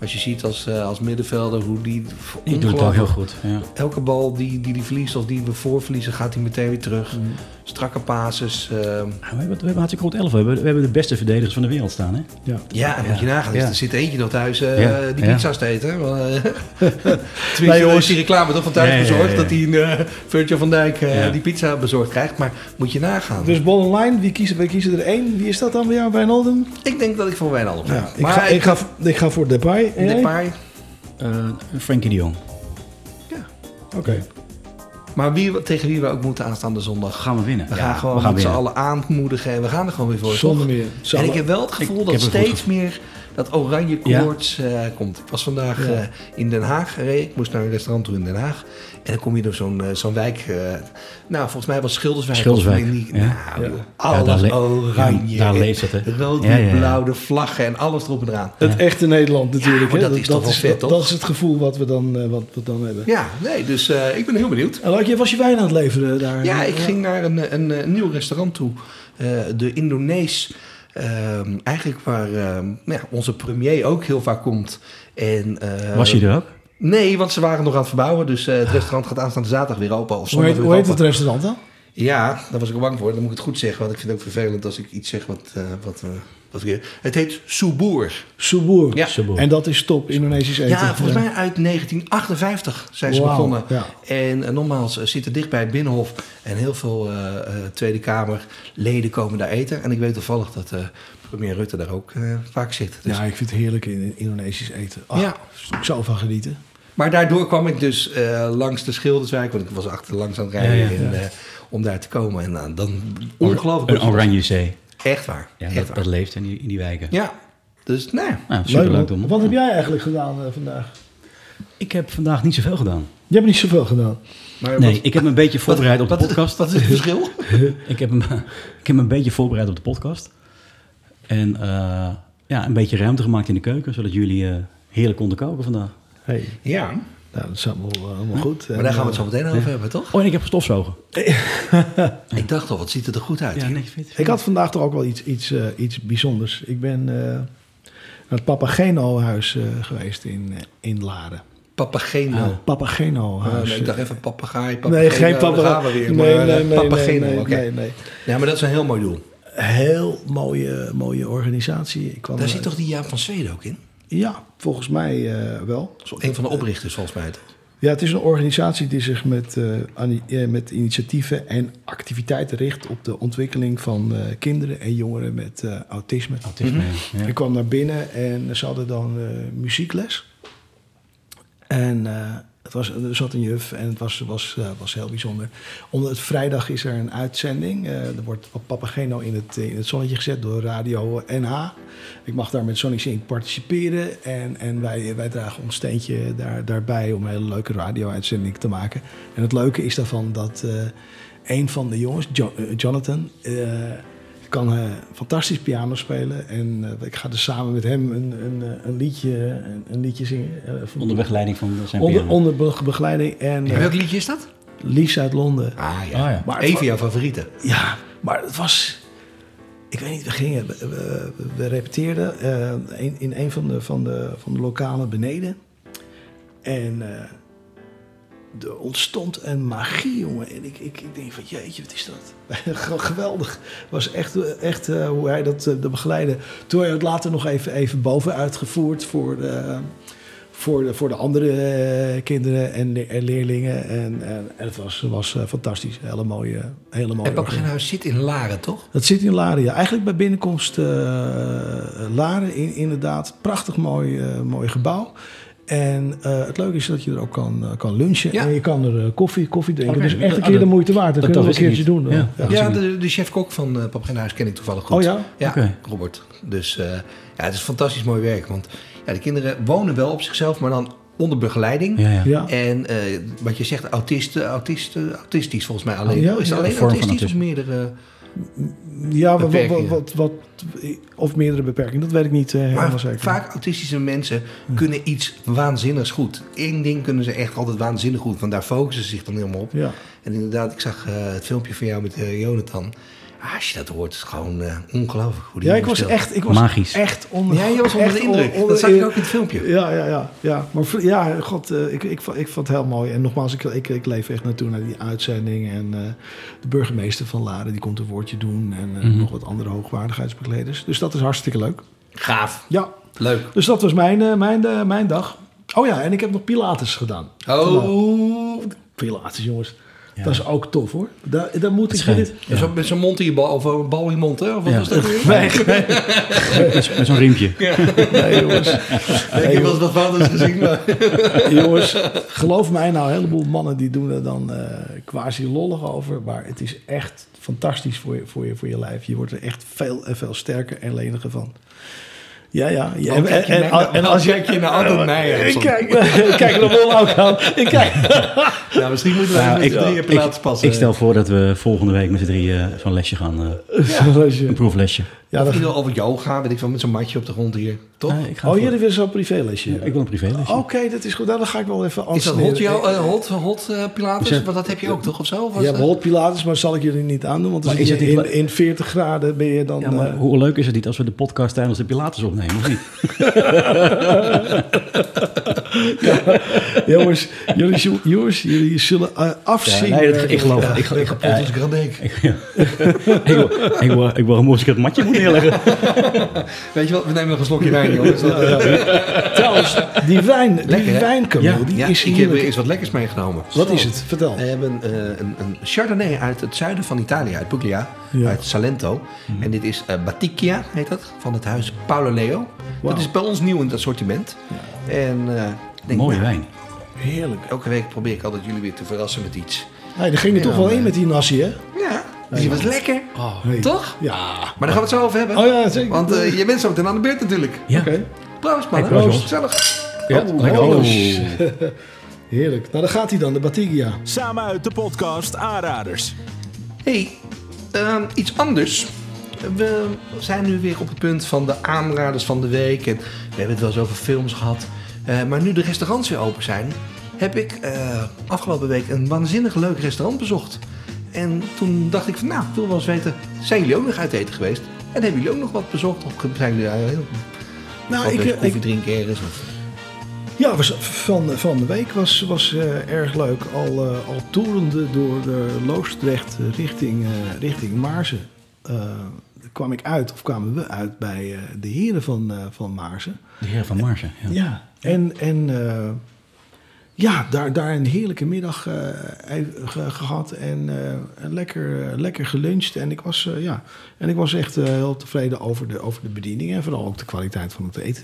S4: Als je ziet als, eh, als middenvelder hoe die...
S5: die doet het wel
S4: ongelooflijk-
S5: heel goed. Ja.
S4: Elke bal die, die die verliest of die we voorverliezen gaat hij meteen weer terug.
S5: Mm.
S4: Strakke pases. eh,
S5: We hebben, we hebben hartstikke goed elf. We hebben, we hebben de beste verdedigers van de wereld staan. Hè?
S3: Ja.
S4: ja, en moet je nagaan. dus
S5: Ja.
S4: er zit eentje nog thuis eh,
S5: Ja,
S4: die
S5: ja.
S4: pizza's te eten. Maar, eh, Tenminste,
S3: Nee,
S4: dan
S3: jongens.
S4: is die reclame toch van thuis
S5: Ja, ja, ja,
S4: bezorgd.
S5: ja.
S4: Dat die eh, Virgil van Dijk eh,
S5: Ja.
S4: die pizza bezorgd krijgt. Maar moet je nagaan.
S3: Dus bol online, wie kiezen, wij kiezen er één. Wie is dat dan bij jou, Wijnaldum?
S4: ik denk dat ik voor Wijnaldum ga.
S3: Ja, ik,
S4: maar
S3: ga, ik, ga, ik ga voor Depay. En jij?
S4: Depay.
S5: Eh, Frankie de Jong.
S3: Oké.
S4: Maar wie, tegen wie we ook moeten aanstaande zondag.
S5: Gaan we winnen?
S4: We gaan gewoon
S5: we gaan
S4: met z'n
S5: winnen.
S4: allen aanmoedigen en we gaan er gewoon weer voor.
S3: Zonder
S4: toch?
S3: meer.
S4: En
S3: Zonder-
S4: ik heb wel het gevoel
S5: Ik- ik
S4: dat
S5: heb het goed
S4: steeds meer dat oranje
S5: Ja.
S4: koorts eh, komt. Ik was vandaag
S3: Ja.
S4: eh, in Den Haag gereden. Ik moest naar een restaurant toe in Den Haag. En dan kom je door zo'n eh, zo'n wijk. eh, nou, volgens mij was Schilderswijk.
S5: Schilderswijk,
S4: of in die-
S5: ja.
S4: nou,
S3: Ja.
S4: joh,
S5: Ja, daar
S4: alles
S5: le-
S4: oranje.
S5: ja, daar leeft het, hè.
S4: Rood,
S5: Ja, ja, ja.
S4: blauw, de vlaggen en alles erop en eraan.
S3: Het echte Nederland natuurlijk.
S4: Ja, maar
S3: hè.
S4: dat is toch wel vet,
S3: dat,
S4: toch?
S3: dat is het gevoel wat we dan, eh, wat we dan hebben.
S4: Ja, nee, dus eh, ik ben heel benieuwd.
S3: En Larkie, was je wijn aan het leveren daar?
S4: Ja, ik ging naar een, een, eh, nieuw restaurant toe. Eh, de Indonees. ehm, eigenlijk waar ehm, nou ja, onze premier ook heel vaak komt. En, eh,
S5: Was je er ook?
S4: Nee, want ze waren nog aan het verbouwen. Dus eh, het restaurant gaat aanstaande zaterdag weer open. Of
S3: Hoe
S4: zondag
S3: heet,
S4: weer
S3: hoe heet het
S4: open.
S3: restaurant dan?
S4: Ja, daar was ik bang voor. Dan moet ik het goed zeggen. Want ik vind het ook vervelend als ik iets zeg wat... eh, wat, eh, wat weer. Het heet Soeboer.
S3: Subur.
S4: Ja.
S5: Subur.
S3: En dat is top, Indonesisch eten.
S4: Ja, volgens mij uit 1958 zijn ze
S3: Wauw,
S4: begonnen.
S3: ja.
S4: En eh, nogmaals, eh, zitten dichtbij het Binnenhof. En heel veel eh, eh, Tweede Kamerleden komen daar eten. En ik weet toevallig dat eh, premier Rutte daar ook eh, vaak zit. Dus,
S3: Ja, ik vind het heerlijk in Indonesisch eten. Ach,
S4: Ja.
S3: Ik zou van genieten.
S4: Maar daardoor kwam ik dus eh, langs de Schilderswijk. Want ik was achterlangs aan het rijden.
S5: Ja, ja,
S4: en, eh, om daar te komen. En nou, dan ongelooflijk.
S5: Een oranje zee.
S4: Echt waar.
S5: Ja,
S4: echt
S5: dat,
S4: waar.
S5: dat leeft in die, in die wijken.
S4: Ja, dus nee.
S5: Nou, superleuk
S3: Leuk,
S5: doen.
S3: man. Wat heb jij eigenlijk gedaan eh, vandaag?
S5: Ik heb vandaag niet zoveel gedaan.
S3: Je hebt niet zoveel gedaan.
S4: Maar
S5: Nee,
S4: wat-
S5: ik heb me een beetje voorbereid op de
S4: wat,
S5: podcast.
S4: Wat is het verschil?
S5: ik, heb hem, ik heb me een beetje voorbereid op de podcast. En eh, ja, een beetje ruimte gemaakt in de keuken, zodat jullie eh, heerlijk konden koken vandaag.
S3: Hey,
S4: ja,
S3: nou, dat is allemaal, eh, allemaal goed.
S4: Hm? maar daar gaan we het zo meteen over hebben, toch?
S5: Oh, en ik heb gestofzogen.
S4: Ik dacht al, wat ziet het er goed uit. hier.
S5: niks fit.
S3: Ik had vandaag toch ook wel iets, iets, eh, iets bijzonders. Ik ben eh, naar het Papageno-huis eh, geweest in, eh, in Laren.
S4: Papageno.
S3: Het Papageno-huis. Eh,
S4: Ah, Oh. nee, ik dacht even papegaai.
S3: Ah. Oh, nee, geen
S4: Papageno.
S3: Papageno.
S4: we weer.
S3: Nee,
S4: maar,
S3: nee,
S4: eh,
S3: nee,
S4: Papageno,
S3: nee, nee,
S4: oké.
S3: nee, Oh, nee.
S4: Ja, maar dat is een heel mooi doel.
S3: Heel mooie, mooie organisatie. Ik kwam
S4: Daar
S3: er-
S4: zit toch die Jaap van Zweden ook in?
S3: Ja, volgens mij eh, wel.
S4: Zo, een van de oprichters volgens mij. toch?
S3: Ja, het is een organisatie die zich met, eh, ani- eh, met initiatieven en activiteiten richt op de ontwikkeling van eh, kinderen en jongeren met eh, autisme.
S5: Autisme, ja.
S3: Ik kwam naar binnen en ze hadden dan eh, muziekles. En eh, het was, er zat een juf en het was, was, eh, was heel bijzonder. Omdat het vrijdag is er een uitzending. Eh, er wordt op Papageno in het, eh, in het zonnetje gezet door Radio NH. Ik mag daar met Sonic Sync participeren. En, en wij, wij dragen ons steentje daar, daarbij om een hele leuke radio-uitzending te maken. En het leuke is daarvan dat eh, een van de jongens, Jo- eh, Jonathan... eh, ik kan eh, fantastisch piano spelen en eh, ik ga dus samen met hem een, een, eh, een, liedje, een, een liedje zingen. eh, van-
S5: Onder begeleiding van zijn
S3: onder,
S5: piano.
S3: onder be- begeleiding en eh,
S4: Welk liedje is dat?
S3: Lies uit Londen.
S4: Ah ja.
S5: Ah, ja.
S3: Maar het
S4: Even
S3: wa-
S4: jouw favoriete.
S3: ja, maar het was... Ik weet niet, we gingen... We, we- we repeteerden eh, in, in een van de, van, de, van de lokalen beneden. En eh, er ontstond een magie, jongen. En ik, ik, ik denk van, jeetje, wat is dat? Gewoon Geweldig. Het was echt, eh, echt eh, hoe hij dat, eh, dat begeleidde. Toen hebben we het later nog even, even boven uitgevoerd voor... de- voor de, voor de andere eh, kinderen en, le- en leerlingen. En, en, en het was, was eh, fantastisch. Hele mooie, hele mooie
S4: En
S3: organisatie.
S4: Papageno zit in Laren, toch?
S3: Dat zit in Laren, ja. Eigenlijk bij binnenkomst eh, Laren, in, inderdaad. Prachtig mooi, eh, mooi gebouw. En eh, het leuke is dat je er ook kan, eh, kan lunchen.
S4: Ja.
S3: En je kan er eh, koffie, koffie drinken.
S5: Oké.
S3: Dus echt een
S5: Ah,
S3: keer de
S5: dat-
S3: moeite waard. Dat,
S5: dat-
S3: kunnen we
S5: dat
S3: een
S5: wist
S3: keertje
S5: ik
S3: doen.
S5: niet.
S3: dan.
S5: Ja.
S4: Ja,
S5: zie je.
S4: de, de chef-kok van eh Papageno ken ik toevallig goed.
S3: Oh ja?
S4: Ja,
S5: Oké.
S4: Robert. Dus eh, ja, het is fantastisch mooi werk. Want ja, de kinderen wonen wel op zichzelf, maar dan onder begeleiding.
S5: Ja, ja.
S3: Ja.
S4: En eh, wat je zegt, autisten, autisten, autistisch volgens mij alleen.
S3: Oh, ja?
S4: is het
S3: Ja,
S4: alleen
S5: een vorm van
S4: autistisch of
S5: autisme.
S4: meerdere?
S3: Ja, wat, wat, wat,
S4: Beperkingen.
S3: wat, of meerdere beperkingen. Dat weet ik niet eh, helemaal
S4: Maar
S3: zeker.
S4: vaak autistische mensen kunnen iets waanzinnigs goed. Eén ding kunnen ze echt altijd waanzinnig goed, want daar focussen ze zich dan helemaal op.
S3: Ja.
S4: En inderdaad, ik zag eh, het filmpje van jou met eh, Jonathan. Ah, als je dat hoort, is het gewoon eh, ongelooflijk hoe die
S3: Ja, ik
S4: jongen
S3: was
S4: speelt.
S3: echt, ik was
S5: Magisch.
S3: echt onder
S4: Ja, je was onder
S3: echt
S4: de indruk.
S3: on- onder-
S4: dat zag ik ook in het filmpje.
S3: Ja, ja, ja, ja. Maar v- ja, god, eh, ik, ik, vond- ik vond het heel mooi. En nogmaals, ik, ik, ik leef echt naartoe naar die uitzending. En eh, de burgemeester van Laren, die komt een woordje doen. En eh, nog wat andere hoogwaardigheidsbegleders. Dus dat is hartstikke leuk.
S4: Gaaf.
S3: Ja,
S4: Leuk.
S3: dus dat was mijn, eh, mijn, eh, mijn dag. Oh ja, en ik heb nog Pilates gedaan.
S4: Oh.
S3: Pilates, jongens. Dat is ook tof, hoor. Daar, daar moet ik...
S5: schijnt.
S4: Ja. Zo, met zo'n mond in je bal, of een bal in je mond, hè? Of wat
S5: Ja.
S4: was dat weer?
S3: Nee,
S5: Met zo- met zo'n riempje.
S3: nee, jongens.
S4: ik heb wel eens wat foto's gezien, maar...
S3: Jongens, geloof mij nou, een heleboel mannen die doen er dan eh, quasi lollig over. Maar het is echt fantastisch voor je, voor je, voor je lijf. Je wordt er echt veel en veel sterker en leniger van. Ja, ja. ja.
S5: Oh,
S4: Waarom kijk je mij nou- waarom kijk je nou altijd mij aan,
S3: Ik
S4: Son?
S3: kijk, ik kijk er wel ook aan. Ik kijk.
S4: Nou, misschien moeten we
S5: Nou,
S4: even
S5: ik,
S4: met drieën
S5: ik,
S4: plaats passen.
S5: ik stel voor dat we volgende week met z'n drieën zo'n lesje gaan. eh,
S3: Zoals je-
S5: een proeflesje.
S3: Ja,
S4: Of
S3: dat,
S4: in ieder geval over yoga, weet ik veel, met zo'n matje op de grond hier. Toch?
S5: Ah, ik ga
S3: oh,
S5: voor- Oh,
S3: jullie willen zo'n privélesje
S5: Ik
S3: hebben.
S5: wil een privélesje.
S3: Oké, dat is goed. Nou, dan ga ik wel even
S4: is dat
S3: ansneren.
S4: hot, jou, eh, hot, hot eh, pilates?
S5: Is dat-
S4: Want dat heb je ook toch, of zo? Of was
S3: Je hebt
S4: dat-
S3: hot pilates, maar zal ik jullie niet aandoen. Want dan
S5: Maar
S3: zit
S5: is
S3: je
S5: het
S3: in,
S5: niet-
S3: in 40 graden ben je dan...
S5: Ja, maar
S3: eh,
S5: hoe leuk is het niet als we de podcast tijdens de Pilatus opnemen, of niet?
S3: eh, Jongens, jullie, zullen- jongens, jullie zullen eh, afzien.
S5: Ja, nee, dat- ik geloof
S3: Ja.
S5: het. Ik, ik,
S4: Kapot als ik eraan denk.
S5: ik, wil- ik, wil- ik wil een moeilijk het matje moet neerleggen.
S4: Weet je wat, we nemen nog een slokje wijn, jongens. want, eh,
S3: Trouwens, die wijn,
S4: Lekker,
S3: die
S4: hè?
S3: wijn, Camille,
S5: Ja,
S3: die
S4: ja,
S3: is
S4: ik heb eh, Oh.
S3: heerlijk.
S4: eens wat lekkers meegenomen.
S3: Wat is het? Vertel.
S4: We hebben eh, een, een Chardonnay uit het zuiden van Italië, uit Puglia,
S3: Ja.
S4: uit Salento.
S5: Mhm.
S4: En dit is eh Baticchia, heet dat, van het huis Paolo Leo.
S3: Wauw.
S4: Dat is bij ons nieuw in het assortiment. En eh, ik denk,
S5: Mooie
S4: nou,
S5: wijn.
S3: Heerlijk.
S4: Elke week probeer ik altijd jullie weer te verrassen met iets.
S3: Nee, daar ging er
S4: Ja,
S3: toch wel in
S4: nee.
S3: met die nasi, hè?
S4: Ja, dus die was lekker.
S3: Nee.
S4: Toch?
S3: Ja.
S4: Maar daar gaan we het zo over hebben.
S3: Oh ja, zeker.
S4: Want eh, je bent zo meteen aan de beurt natuurlijk.
S5: Ja,
S3: Oké.
S4: Proost man.
S5: Hey, proost, jongens.
S4: Gezellig.
S5: ja
S3: Oh,
S5: lekker.
S3: oh.
S5: Oh.
S3: Heerlijk. Nou, daar gaat hij dan, de Batigia.
S1: Samen uit de podcast Aanraders.
S4: hey, ehm, iets anders. We zijn nu weer op het punt van de aanraders van de week. En we hebben het wel eens over films gehad. Eh, maar nu de restaurants weer open zijn, heb ik eh, afgelopen week een waanzinnig leuk restaurant bezocht. En toen dacht ik van, nou, ik wil wel eens weten, zijn jullie ook nog uit eten geweest? En hebben jullie ook nog wat bezocht? Of zijn jullie eh, heel
S3: Nou,
S4: wat
S3: ik,
S4: eens
S3: eh, ik,
S4: koffie drinken ergens? Of...
S3: Ja, was van, van de week was, was eh, erg leuk. Al, eh, al toerende door eh, Loosdrecht richting, eh, richting Maarsen. eh, kwam ik uit, of kwamen we uit bij eh, de heren van, eh, van Maarsen.
S5: De heer van Marsen. Ja.
S3: Ja, en, en eh, ja, daar, daar een heerlijke middag eh, even ge- gehad en eh, en lekker, eh, lekker geluncht. En ik was, eh, ja, en ik was echt eh, heel tevreden over de, over de bediening en vooral ook de kwaliteit van het eten.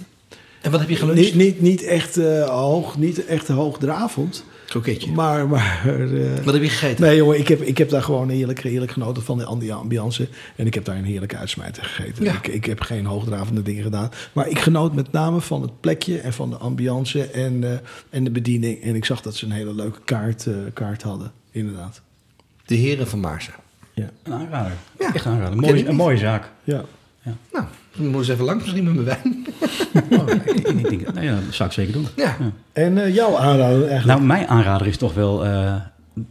S4: En wat heb
S5: Eh,
S4: je geluncht?
S3: Niet, niet, niet, echt, eh, hoog, niet echt hoogdravend,
S4: Kroketje.
S3: maar... maar eh,
S4: Wat heb je gegeten?
S3: Nee jongen, ik heb, ik heb daar gewoon heerlijk, heerlijk genoten van de ambi- ambiance. En ik heb daar een heerlijke uitsmijter gegeten.
S4: Ja.
S3: Ik, ik heb geen hoogdravende dingen gedaan. Maar ik genoot met name van het plekje en van de ambiance en, eh, en de bediening. En ik zag dat ze een hele leuke kaart, eh, kaart hadden, inderdaad.
S4: De heren van Maarsen.
S3: Ja.
S5: Een aanrader.
S4: Ja.
S5: Echt een aanrader.
S4: Ken ik
S5: Mooie,
S4: niet.
S5: een mooie zaak.
S3: ja.
S4: Nou, dan moet eens even langs misschien met mijn wijn.
S5: En ik denk, nee, dat zou ik zeker doen.
S4: Ja.
S3: En eh, jouw aanrader eigenlijk?
S5: Nou, mijn aanrader is toch wel... eh,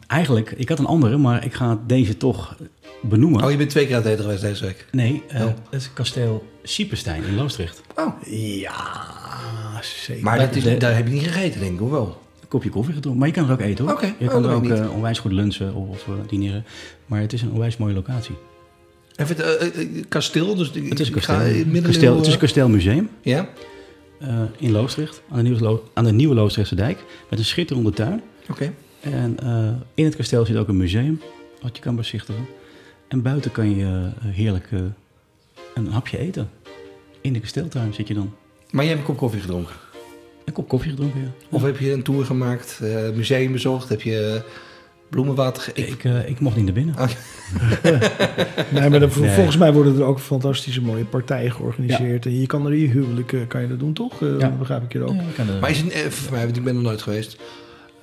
S5: eigenlijk, ik had een andere, maar ik ga deze toch benoemen.
S4: Oh, je bent twee keer aan het eten geweest deze week.
S5: Nee, eh,
S4: Oh.
S5: het is kasteel Siepenstein in Loosdrecht.
S4: Oh.
S3: Ja, zeker.
S4: Ah, Maar dat is,
S5: de-
S4: daar heb je niet gegeten, denk ik, of wel?
S5: Een kopje koffie gedronken. Maar je kan er ook eten hoor.
S4: Oké.
S5: Je
S4: Oh,
S5: kan
S4: dat
S5: er ook
S4: weet ik niet.
S5: eh, onwijs goed lunchen of, of eh, dineren. Maar het is een onwijs mooie locatie.
S4: Even het eh, eh, kasteel, dus ik-
S5: Het is een
S4: ik
S5: kasteel.
S4: ga in middeleeuwen-
S5: kasteel het is een kasteelmuseum
S4: Ja,
S5: eh, in Loosdrecht. Aan de, nieuwe, Lo- aan de nieuwe Loosdrechtse dijk. Met een schitterende tuin.
S4: oké.
S5: En eh, in het kasteel zit ook een museum. Wat je kan bezichtigen. En buiten kan je eh, heerlijk eh, een hapje eten. In de kasteeltuin zit je dan.
S4: Maar jij hebt een kop koffie gedronken.
S5: Een kop koffie gedronken, ja.
S4: Of heb je een tour gemaakt, eh, museum bezocht, heb je eh, bloemenwater ge-
S5: Ik, eh, ik mocht niet naar binnen.
S4: Ah,
S3: Nee, maar dan-
S5: Nee.
S3: volgens mij worden er ook fantastische mooie partijen georganiseerd. En je kan er je huwelijk kan je dat doen, toch? Eh,
S5: Ja.
S3: Begrijp ik je ook.
S5: Ja, ik kan er-
S4: Maar is het, eh, voor mij, want ik ben er nooit geweest.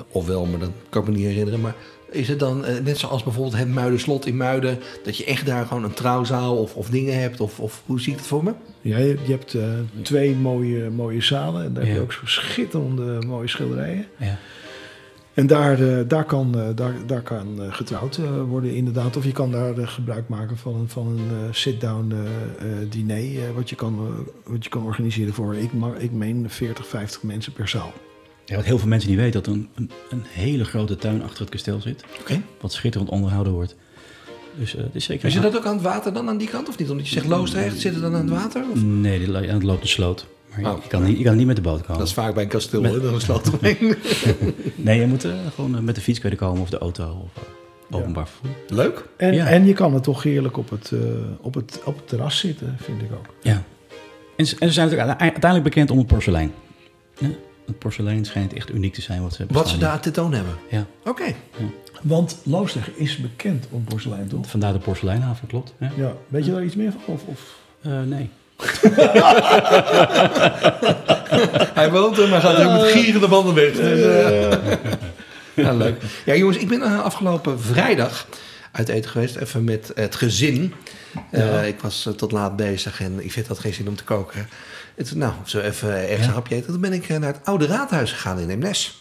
S4: Of wel, maar dat kan ik me niet herinneren. Maar is het dan, eh, net zoals bijvoorbeeld het Muiderslot in Muiden, dat je echt daar gewoon een trouwzaal of, of dingen hebt? Of, of hoe zie ik het voor me?
S3: Ja, je, je hebt eh, twee mooie, mooie zalen. En daar heb je
S5: Ja.
S3: ook zo schitterende mooie schilderijen.
S5: ja.
S3: En daar, eh, daar kan, eh, daar, daar kan eh, getrouwd eh, worden inderdaad. Of je kan daar eh, gebruik maken van een, van een eh, sit-down eh, eh, diner. eh, wat, je kan, eh, wat je kan organiseren voor, ik, ma- ik meen, 40, 50 mensen per zaal.
S5: Ja, wat heel veel mensen niet weten, dat er een, een, een hele grote tuin achter het kasteel zit.
S4: Oké.
S5: Wat schitterend onderhouden wordt. Dus eh het is zeker...
S4: Is je dat ook aan het water dan aan die kant of niet? Omdat je zegt Loosdrecht, zit het dan aan het water? Of?
S5: Nee, dit lo- ja, het loopt de sloot. Maar je-
S4: Oh.
S5: je, kan niet, je kan niet met de boot komen.
S4: Dat is vaak bij een kasteel, hè, dan een sloot omheen.
S5: Nee, je moet eh, gewoon eh, met de fiets kunnen komen of de auto of eh, openbaar vervoer.
S4: Leuk.
S3: En,
S5: Ja.
S3: en je kan er toch heerlijk op het, eh, op, het, op het terras zitten, vind ik ook.
S5: Ja. En, ze- en ze zijn natuurlijk uite- uiteindelijk bekend om het porselein. Ja, het porselein schijnt echt uniek te zijn wat ze
S4: Wat ze
S5: bestaan
S4: daar tentoon hebben.
S5: hier. Ja,
S4: Oké.
S3: Want Loosdrecht is bekend om porselein, toch?
S5: vandaar de porseleinhaven, klopt. Ja.
S3: Ja, weet je daar iets meer van? Of, of?
S5: Eh, nee.
S4: Hij woont er, maar gaat ook met gierende banden weg. Dus, eh, ja, leuk. Ja, jongens, ik ben eh, afgelopen vrijdag uit eten geweest. Even met het gezin. Eh, ik was eh, tot laat bezig en ik vind dat geen zin om te koken. En toen, nou, zo even ergens een hapje eten. Toen ben ik eh, naar het oude raadhuis gegaan in Eemnes.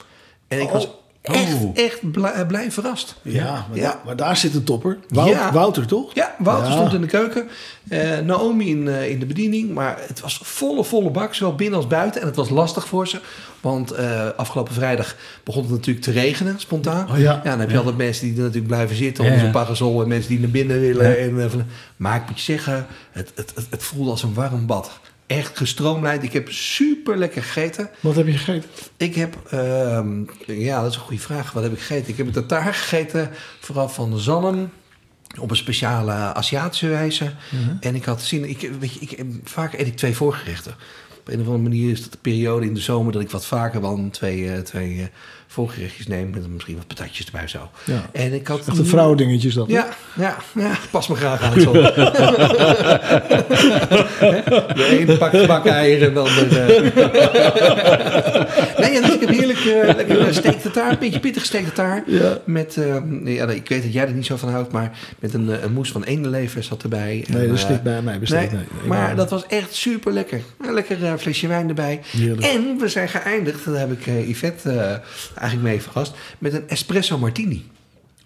S4: En ik was echt,
S5: Oh.
S4: echt bla- eh, blij verrast.
S3: Ja, maar,
S4: Ja.
S3: Daar, maar daar zit een topper. Wout-
S4: Ja.
S3: Wouter, toch?
S4: Ja, Wouter
S3: Ja.
S4: stond in de keuken. eh, Naomi in, eh, in de bediening. Maar het was volle, volle bak, zowel binnen als buiten. En het was lastig voor ze. Want eh, afgelopen vrijdag begon het natuurlijk te regenen, spontaan.
S3: Oh ja.
S4: dan heb je altijd mensen die er natuurlijk blijven zitten
S5: Ja,
S4: onder zo'n
S5: ja.
S4: parasol. En mensen die naar binnen willen. En, eh, van- maar ik moet je zeggen, het, het, het, het voelde als een warm bad. Echt gestroomlijnd. Ik heb super lekker gegeten.
S3: Wat heb je gegeten?
S4: Ik heb, ehm, ja, dat is een goede vraag. Wat heb ik gegeten? Ik heb een tartaar gegeten, vooral van zalm. Op een speciale Aziatische wijze.
S3: Mhm.
S4: En ik had zin, ik, weet je, ik, vaak eet ik twee voorgerechten. Op een of andere manier is dat de periode in de zomer dat ik wat vaker dan twee, eh, twee eh, voorgerechtjes neem. Met misschien wat patatjes erbij zo.
S3: Ja.
S4: En ik had
S3: Echt een vrouwdingetje is dat. hè?
S4: ja, ja, ja, pas me graag aan. John. de een pak bak eieren en de ander. eh. nee, ja, dus ik heb heerlijk eh, lekker eh, steak tartaar, een beetje pittig steak tartaar.
S3: Ja.
S4: Met, eh, ja, nou, ik weet dat jij er niet zo van houdt, maar met een, eh, een moes van eendelever zat erbij. En,
S3: Nee, dat is
S4: eh,
S3: niet bij mij besteed. Nee,
S4: nee,
S3: nee.
S4: maar dat was echt super lekker. Een lekker eh, flesje wijn erbij.
S3: Heerlijk.
S4: En we zijn geëindigd, daar heb ik eh, Yvette eh, eigenlijk mee verrast, met een espresso martini.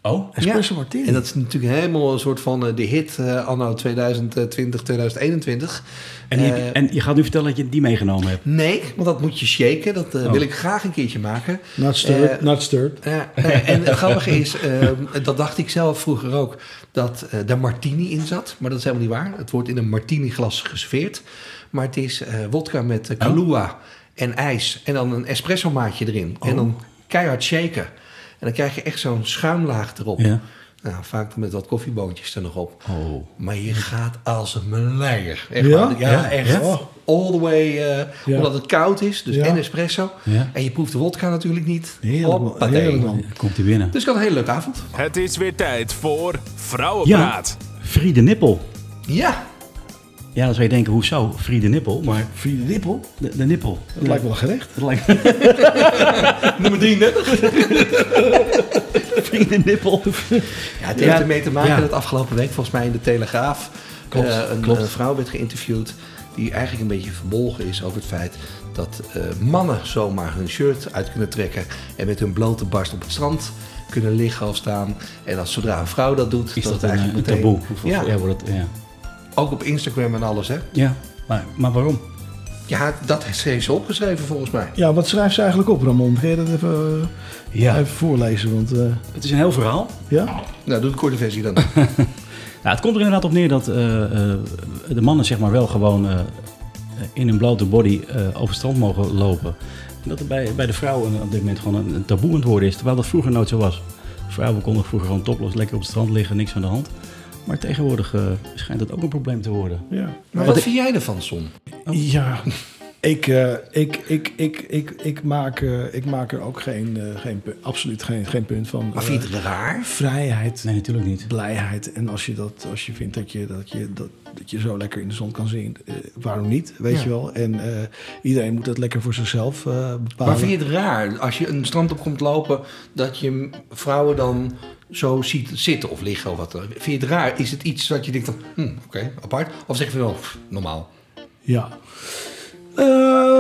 S5: Oh?
S3: Espresso martini.
S4: En dat is natuurlijk helemaal een soort van eh, de hit eh, anno 2020, 2021.
S5: En, die heb
S4: Eh,
S5: je, en je gaat nu vertellen dat je die meegenomen hebt.
S4: Nee, want dat moet je shaken. Dat eh,
S5: Oh.
S4: wil ik graag een keertje maken.
S3: Not stirred.
S4: Eh,
S3: not stirred.
S4: Ja, eh, en het grappige is, eh, dat dacht ik zelf vroeger ook, dat eh daar martini in zat. Maar dat is helemaal niet waar. Het wordt in een martini glas geserveerd. Maar het is eh wodka met eh Kahlua en ijs en dan een espresso maatje erin. En dan keihard shaken. En dan krijg je echt zo'n schuimlaag erop.
S5: Ja.
S4: Nou, vaak met wat koffieboontjes er nog op.
S5: Oh.
S4: Maar je gaat als een leier. Echt
S3: Ja?
S4: waar. Ja,
S5: Ja,
S4: echt.
S5: ja.
S4: All the way, eh,
S3: Ja.
S4: omdat het koud is. Dus
S3: Ja.
S4: en espresso.
S5: Ja.
S4: En je proeft de wodka natuurlijk niet.
S3: Heerlijk, man.
S4: Hoppatee.
S3: Heerlijk, man.
S5: Komt hij binnen.
S4: Dus ik had een hele leuke avond.
S1: Het is weer tijd voor Vrouwenpraat.
S5: Friede Nippel.
S4: Ja.
S5: Ja, dan zou je denken, hoezo? Friede Nippel. Maar
S3: Friede Nippel? Oh.
S5: de, de nippel.
S3: Dat lijkt wel een gerecht.
S5: Dat lijkt...
S4: Nummer 33.
S5: Friede Nippel.
S4: Ja, het
S5: Ja.
S4: heeft ermee te maken
S5: Ja.
S4: dat afgelopen week volgens mij in de Telegraaf
S5: Klopt,
S4: eh, een,
S5: klopt.
S4: een vrouw werd geïnterviewd die eigenlijk een beetje verbolgen is over het feit dat eh, mannen zomaar hun shirt uit kunnen trekken en met hun blote barst op het strand kunnen liggen of staan. En als zodra een vrouw dat doet, dat
S5: Is dat
S4: het
S5: een, eh,
S4: eigenlijk
S5: een
S4: meteen-
S5: taboe? Of- of-
S4: Ja,
S5: ja, wordt het, ja.
S4: ook op Instagram en alles hè.
S5: ja. Maar, maar waarom?
S4: Ja, dat heeft ze opgeschreven volgens mij.
S3: Ja, wat schrijft ze eigenlijk op, Ramon? Kun je dat even, even voorlezen? Want, eh,
S5: Het is een heel verhaal.
S3: ja?
S4: Nou, doe de korte versie dan.
S5: Nou, het komt er inderdaad op neer dat eh, eh, de mannen zeg maar wel gewoon eh, in hun blote body eh, over het strand mogen lopen. En dat er bij, bij de vrouw een- op dit moment gewoon een, een taboe aan het worden is, terwijl dat vroeger nooit zo was. Vrouwen konden vroeger gewoon toplos lekker op het strand liggen, niks aan de hand. Maar tegenwoordig eh, schijnt dat ook een probleem te worden.
S3: Ja.
S4: Maar wat vind jij ervan, Son?
S3: Ja, ik, eh, ik, ik, ik, ik, ik, maak, eh, ik maak er ook geen, eh, geen, pu- absoluut geen, geen punt van.
S4: Maar
S3: Eh,
S4: vind je het raar?
S3: vrijheid,
S5: Nee, natuurlijk niet.
S3: blijheid. En als je, dat, als je vindt dat je, dat, je, dat, dat je zo lekker in de zon kan zien, eh, waarom niet? Weet
S4: Ja.
S3: je wel. En eh, iedereen moet dat lekker voor zichzelf eh, bepalen.
S4: Maar vind je het raar als je een strand op komt lopen dat je vrouwen dan zo ziet zitten of liggen of wat? dan? Vind je het raar? Is het iets dat je denkt van, hm, oké, apart? Of zeg je van, oh, pff, normaal?
S3: Ja.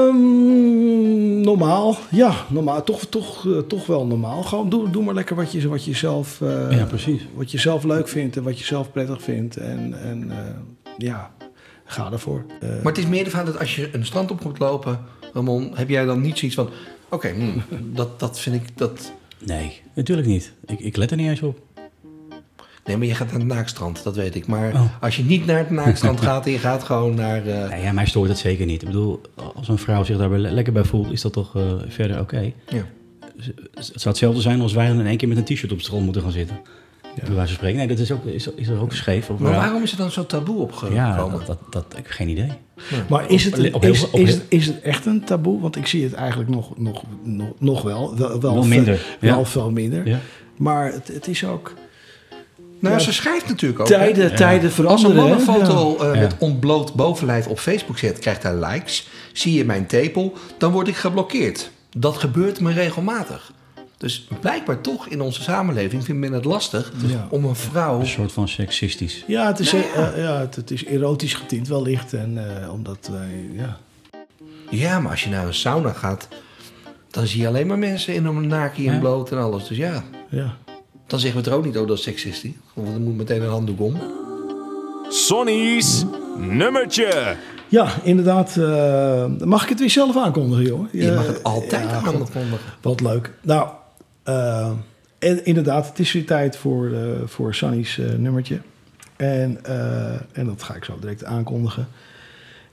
S3: Ehm, normaal, ja, normaal. Toch, toch, eh, toch wel normaal. Gewoon doe, doe maar lekker wat je, wat je zelf eh,
S5: Ja, precies.
S3: wat je zelf leuk vindt en wat je zelf prettig vindt. En, en eh, ja, ga ervoor. Eh,
S4: Maar het is meer de vraag dat als je een strand op komt lopen, Ramon, heb jij dan niet zoiets van, oké, hm, dat, dat vind ik, dat...
S5: Nee, natuurlijk niet. Ik, ik let er niet eens op.
S4: Nee, maar je gaat naar het naakstrand, dat weet ik. Maar
S5: Oh.
S4: als je niet naar het naakstrand gaat en je gaat gewoon naar... eh,
S5: Nee, ja, mij stoort dat zeker niet. Ik bedoel, als een vrouw zich daar wel lekker bij voelt, is dat toch eh, verder oké.
S4: ja.
S5: Het zou hetzelfde zijn als wij dan in één keer met een t-shirt op het strand moeten gaan zitten. Bij wijze van spreken. Nee, dat is, ook, is, is er ook scheef. Of
S4: Maar
S5: raar.
S4: waarom is er dan zo taboe opgekomen? Nou,
S5: Ja, dat, dat, dat- ik heb geen idee.
S3: maar is het,
S5: op
S3: een-
S5: heel-
S3: is,
S5: op
S3: is,
S5: heel-
S3: is het echt een taboe? Want ik zie het eigenlijk nog, nog, nog, nog wel. Wel, wel,
S5: Wel
S3: ve-
S5: minder, ja.
S3: Wel veel minder.
S5: Ja.
S3: Maar het, het is ook...
S4: Nou,
S3: Ja.
S4: ze schrijft natuurlijk ook. hè?
S3: Tijden, tijden
S4: Als een
S3: veranderen.
S4: man
S3: hè?
S4: een foto eh,
S5: Ja.
S4: met ontbloot bovenlijf op Facebook zet, krijgt hij likes. Zie je mijn tepel, dan word ik geblokkeerd. Dat gebeurt me regelmatig. Dus blijkbaar toch in onze samenleving vindt men het lastig
S3: Ja.
S4: om een vrouw...
S5: Een soort van seksistisch.
S3: Ja, het is,
S4: Nou
S3: eh, ja, het, het is erotisch getint wellicht. En eh, omdat wij, ja.
S4: Ja, maar als je naar een sauna gaat, dan zie je alleen maar mensen in een naki en
S5: Ja.
S4: bloot en alles. Dus ja,
S3: ja.
S4: dan zeggen we het er ook niet, oh dat is seksistisch. Want er moet meteen een handdoek om.
S1: Sonny's nummertje.
S3: Ja, inderdaad. eh, mag ik het weer zelf aankondigen, joh?
S4: Je mag het altijd
S3: ja,
S4: aankondigen.
S3: Wat leuk. Nou, eh, en inderdaad, het is weer tijd voor, eh, voor Sunny's eh, nummertje. En, eh, en dat ga ik zo direct aankondigen.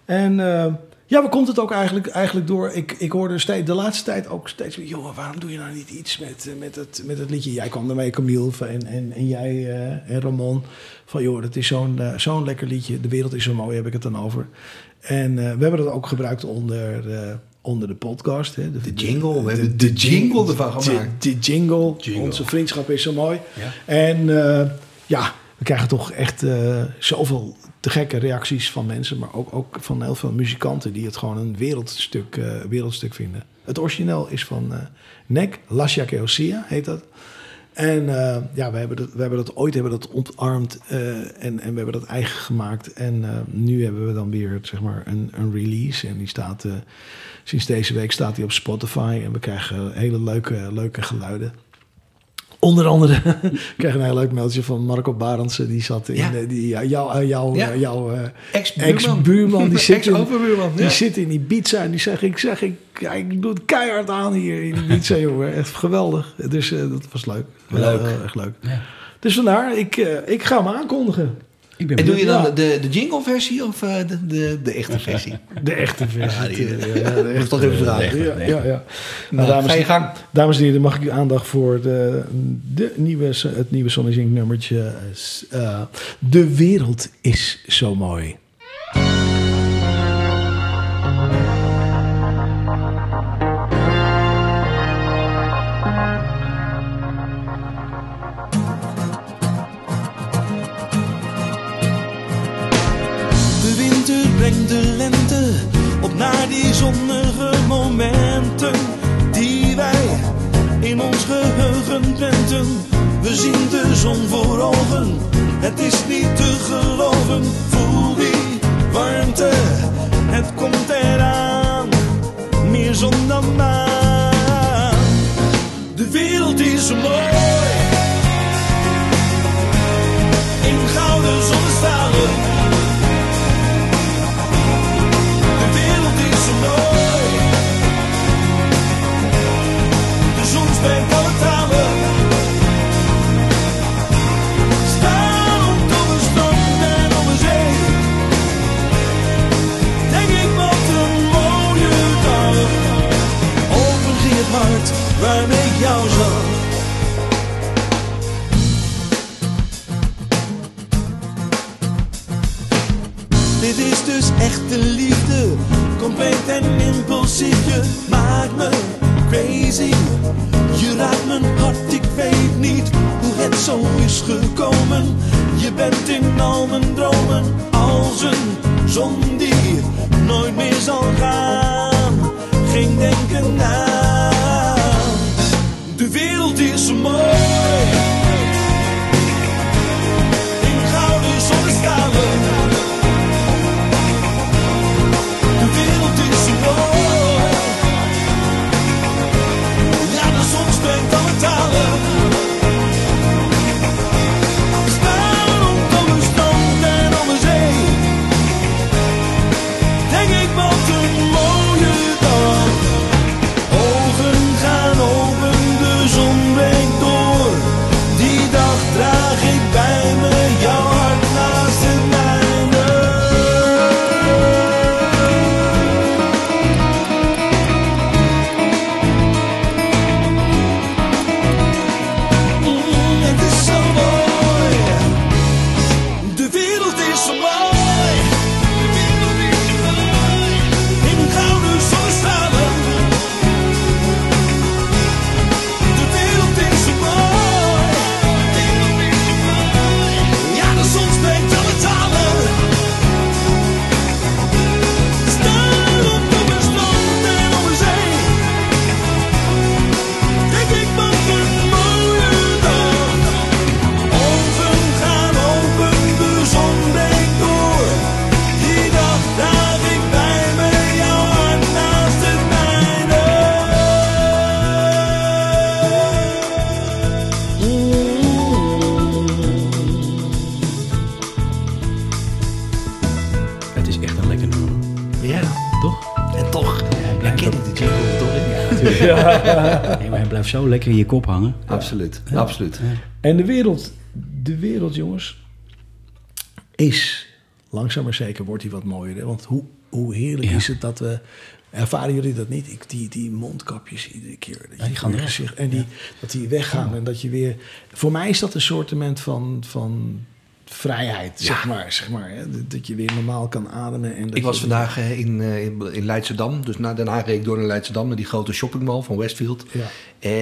S3: En eh, ja, waar komt het ook eigenlijk, eigenlijk door? Ik, ik hoorde steeds, de laatste tijd ook steeds weer... joh, waarom doe je nou niet iets met, eh, met, het, met het liedje? Jij kwam ermee, Camille, van- en, en, en jij eh, en Ramon. Van joh, dat is zo'n eh, zo'n lekker liedje. De wereld is zo mooi, heb ik het dan over. En eh, we hebben dat ook gebruikt onder... eh, onder de podcast. Hè, de,
S4: jingle, we hebben de jingle ervan gemaakt.
S3: De, de jingle.
S5: Jingle.
S3: Onze vriendschap is zo mooi. En eh, ja, we krijgen toch echt eh, zoveel te gekke reacties van mensen. Maar ook, ook van heel veel muzikanten die het gewoon een wereldstuk, eh, wereldstuk vinden. Het origineel is van eh Nek, Lascia Keosia heet dat. En eh, ja, we hebben dat, we hebben dat ooit hebben dat ontarmd eh, en, en we hebben dat eigen gemaakt. En eh, nu hebben we dan weer zeg maar, een, een release. En die staat, eh, sinds deze week staat die op Spotify. En we krijgen hele leuke, leuke geluiden. Onder andere, ik kreeg een heel leuk mailtje van Marco Barendse. Die zat in
S4: Ja.
S3: eh, die, jou, jou, jou,
S4: Ja.
S3: jou, eh,
S4: Ex-buurman.
S3: ex-buurman. die zit in-
S4: Ex-overbuurman,
S3: Die
S4: ja.
S3: zit in Ibiza en die zeg ik, zeg ik, ja, ik doe het keihard aan hier in Ibiza, jongen. Echt geweldig. Dus eh, dat was leuk.
S4: Leuk.
S3: Heel erg leuk. Dus vandaar, ik, eh, ik ga hem aankondigen.
S5: Ik ben
S4: En doe je
S5: benieuwd.
S4: dan
S3: Ja.
S4: de, de jingle versie of eh, de, de, de echte versie?
S3: De echte versie.
S4: Ja, die-
S3: natuurlijk. Ja, de
S4: Moet ik toch even vragen.
S3: Ja,
S5: Nee.
S3: ja, ja. Nou,
S4: Nou,
S3: dames,
S4: ga je gang.
S3: dames en heren, mag ik uw aandacht voor de, de nieuwe, so- het nieuwe Sonny Zink nummertje. eh, s- eh, de wereld is zo mooi.
S2: De winter brengt de lente op naar die zonnige momenten die wij in ons geheugen prenten. We zien de zon voor ogen, het is niet te geloven. Voel die warmte, het komt eraan, meer zon dan maan. De wereld is zo mooi, in gouden zonnestralen. De wereld is zo mooi. De zon spreekt alle talen. Staand op een strand en op een zee. Denk ik wat een mooie dag. Open ging het hart waarmee ik jou zag. Dit is dus echte liefde, compleet en impulsief. Je maakt me crazy, je raakt mijn hart, ik weet niet hoe het zo is gekomen. Je bent in al mijn dromen, als een zon die nooit meer zal gaan. Geen denken aan, de wereld is zo mooi. In gouden zonnestralen. De wereld is zo mooi. Ja, de zon spreekt alle talen. Staan op een strand en op een zee. Denk ik wat een mooie dag. Ogen gaan open, de zon breekt door. Die dag draag ik bij me jouw hart naast het mijne. Mm, het is zo mooi. De wereld is zo mooi. De wereld is zo mooi. In gouden zonnestralen. De wereld is zo mooi. De wereld is zo mooi. Ja, de zon spreekt alle talen. Staan op de strand en op de zee. Denk ik wat een mooie dag. Ogen gaan open, de zon breekt door. Die dag draag ik bij me jouw hart naast het mijne.
S5: Het is echt een lekker nummer.
S4: Ja,
S5: Toch?
S4: en toch. Wij kennen die jingle toch? hè?
S5: Nee, maar hij blijft zo lekker in je kop hangen.
S4: Absoluut, absoluut.
S3: En de wereld, de wereld jongens, is langzaam maar zeker wordt die wat mooier. Hè? Want hoe, hoe heerlijk
S5: Ja.
S3: is het dat we... Ervaren jullie dat niet? Ik, die, die mondkapjes iedere keer. Dat je
S5: die gaan
S3: weer
S5: weg.
S3: gezicht- En die, dat die weggaan. En dat je weer... Voor mij is dat een soortement van, van vrijheid, zeg maar. Zeg maar hè? Dat- Dat je weer normaal kan ademen. En dat
S4: Ik was
S3: je-
S4: vandaag eh, in, eh, in- in Leidschendam. Dus na Den Haag reed ik door naar Leidschendam... naar die grote shoppingmall van Westfield.
S3: Ja.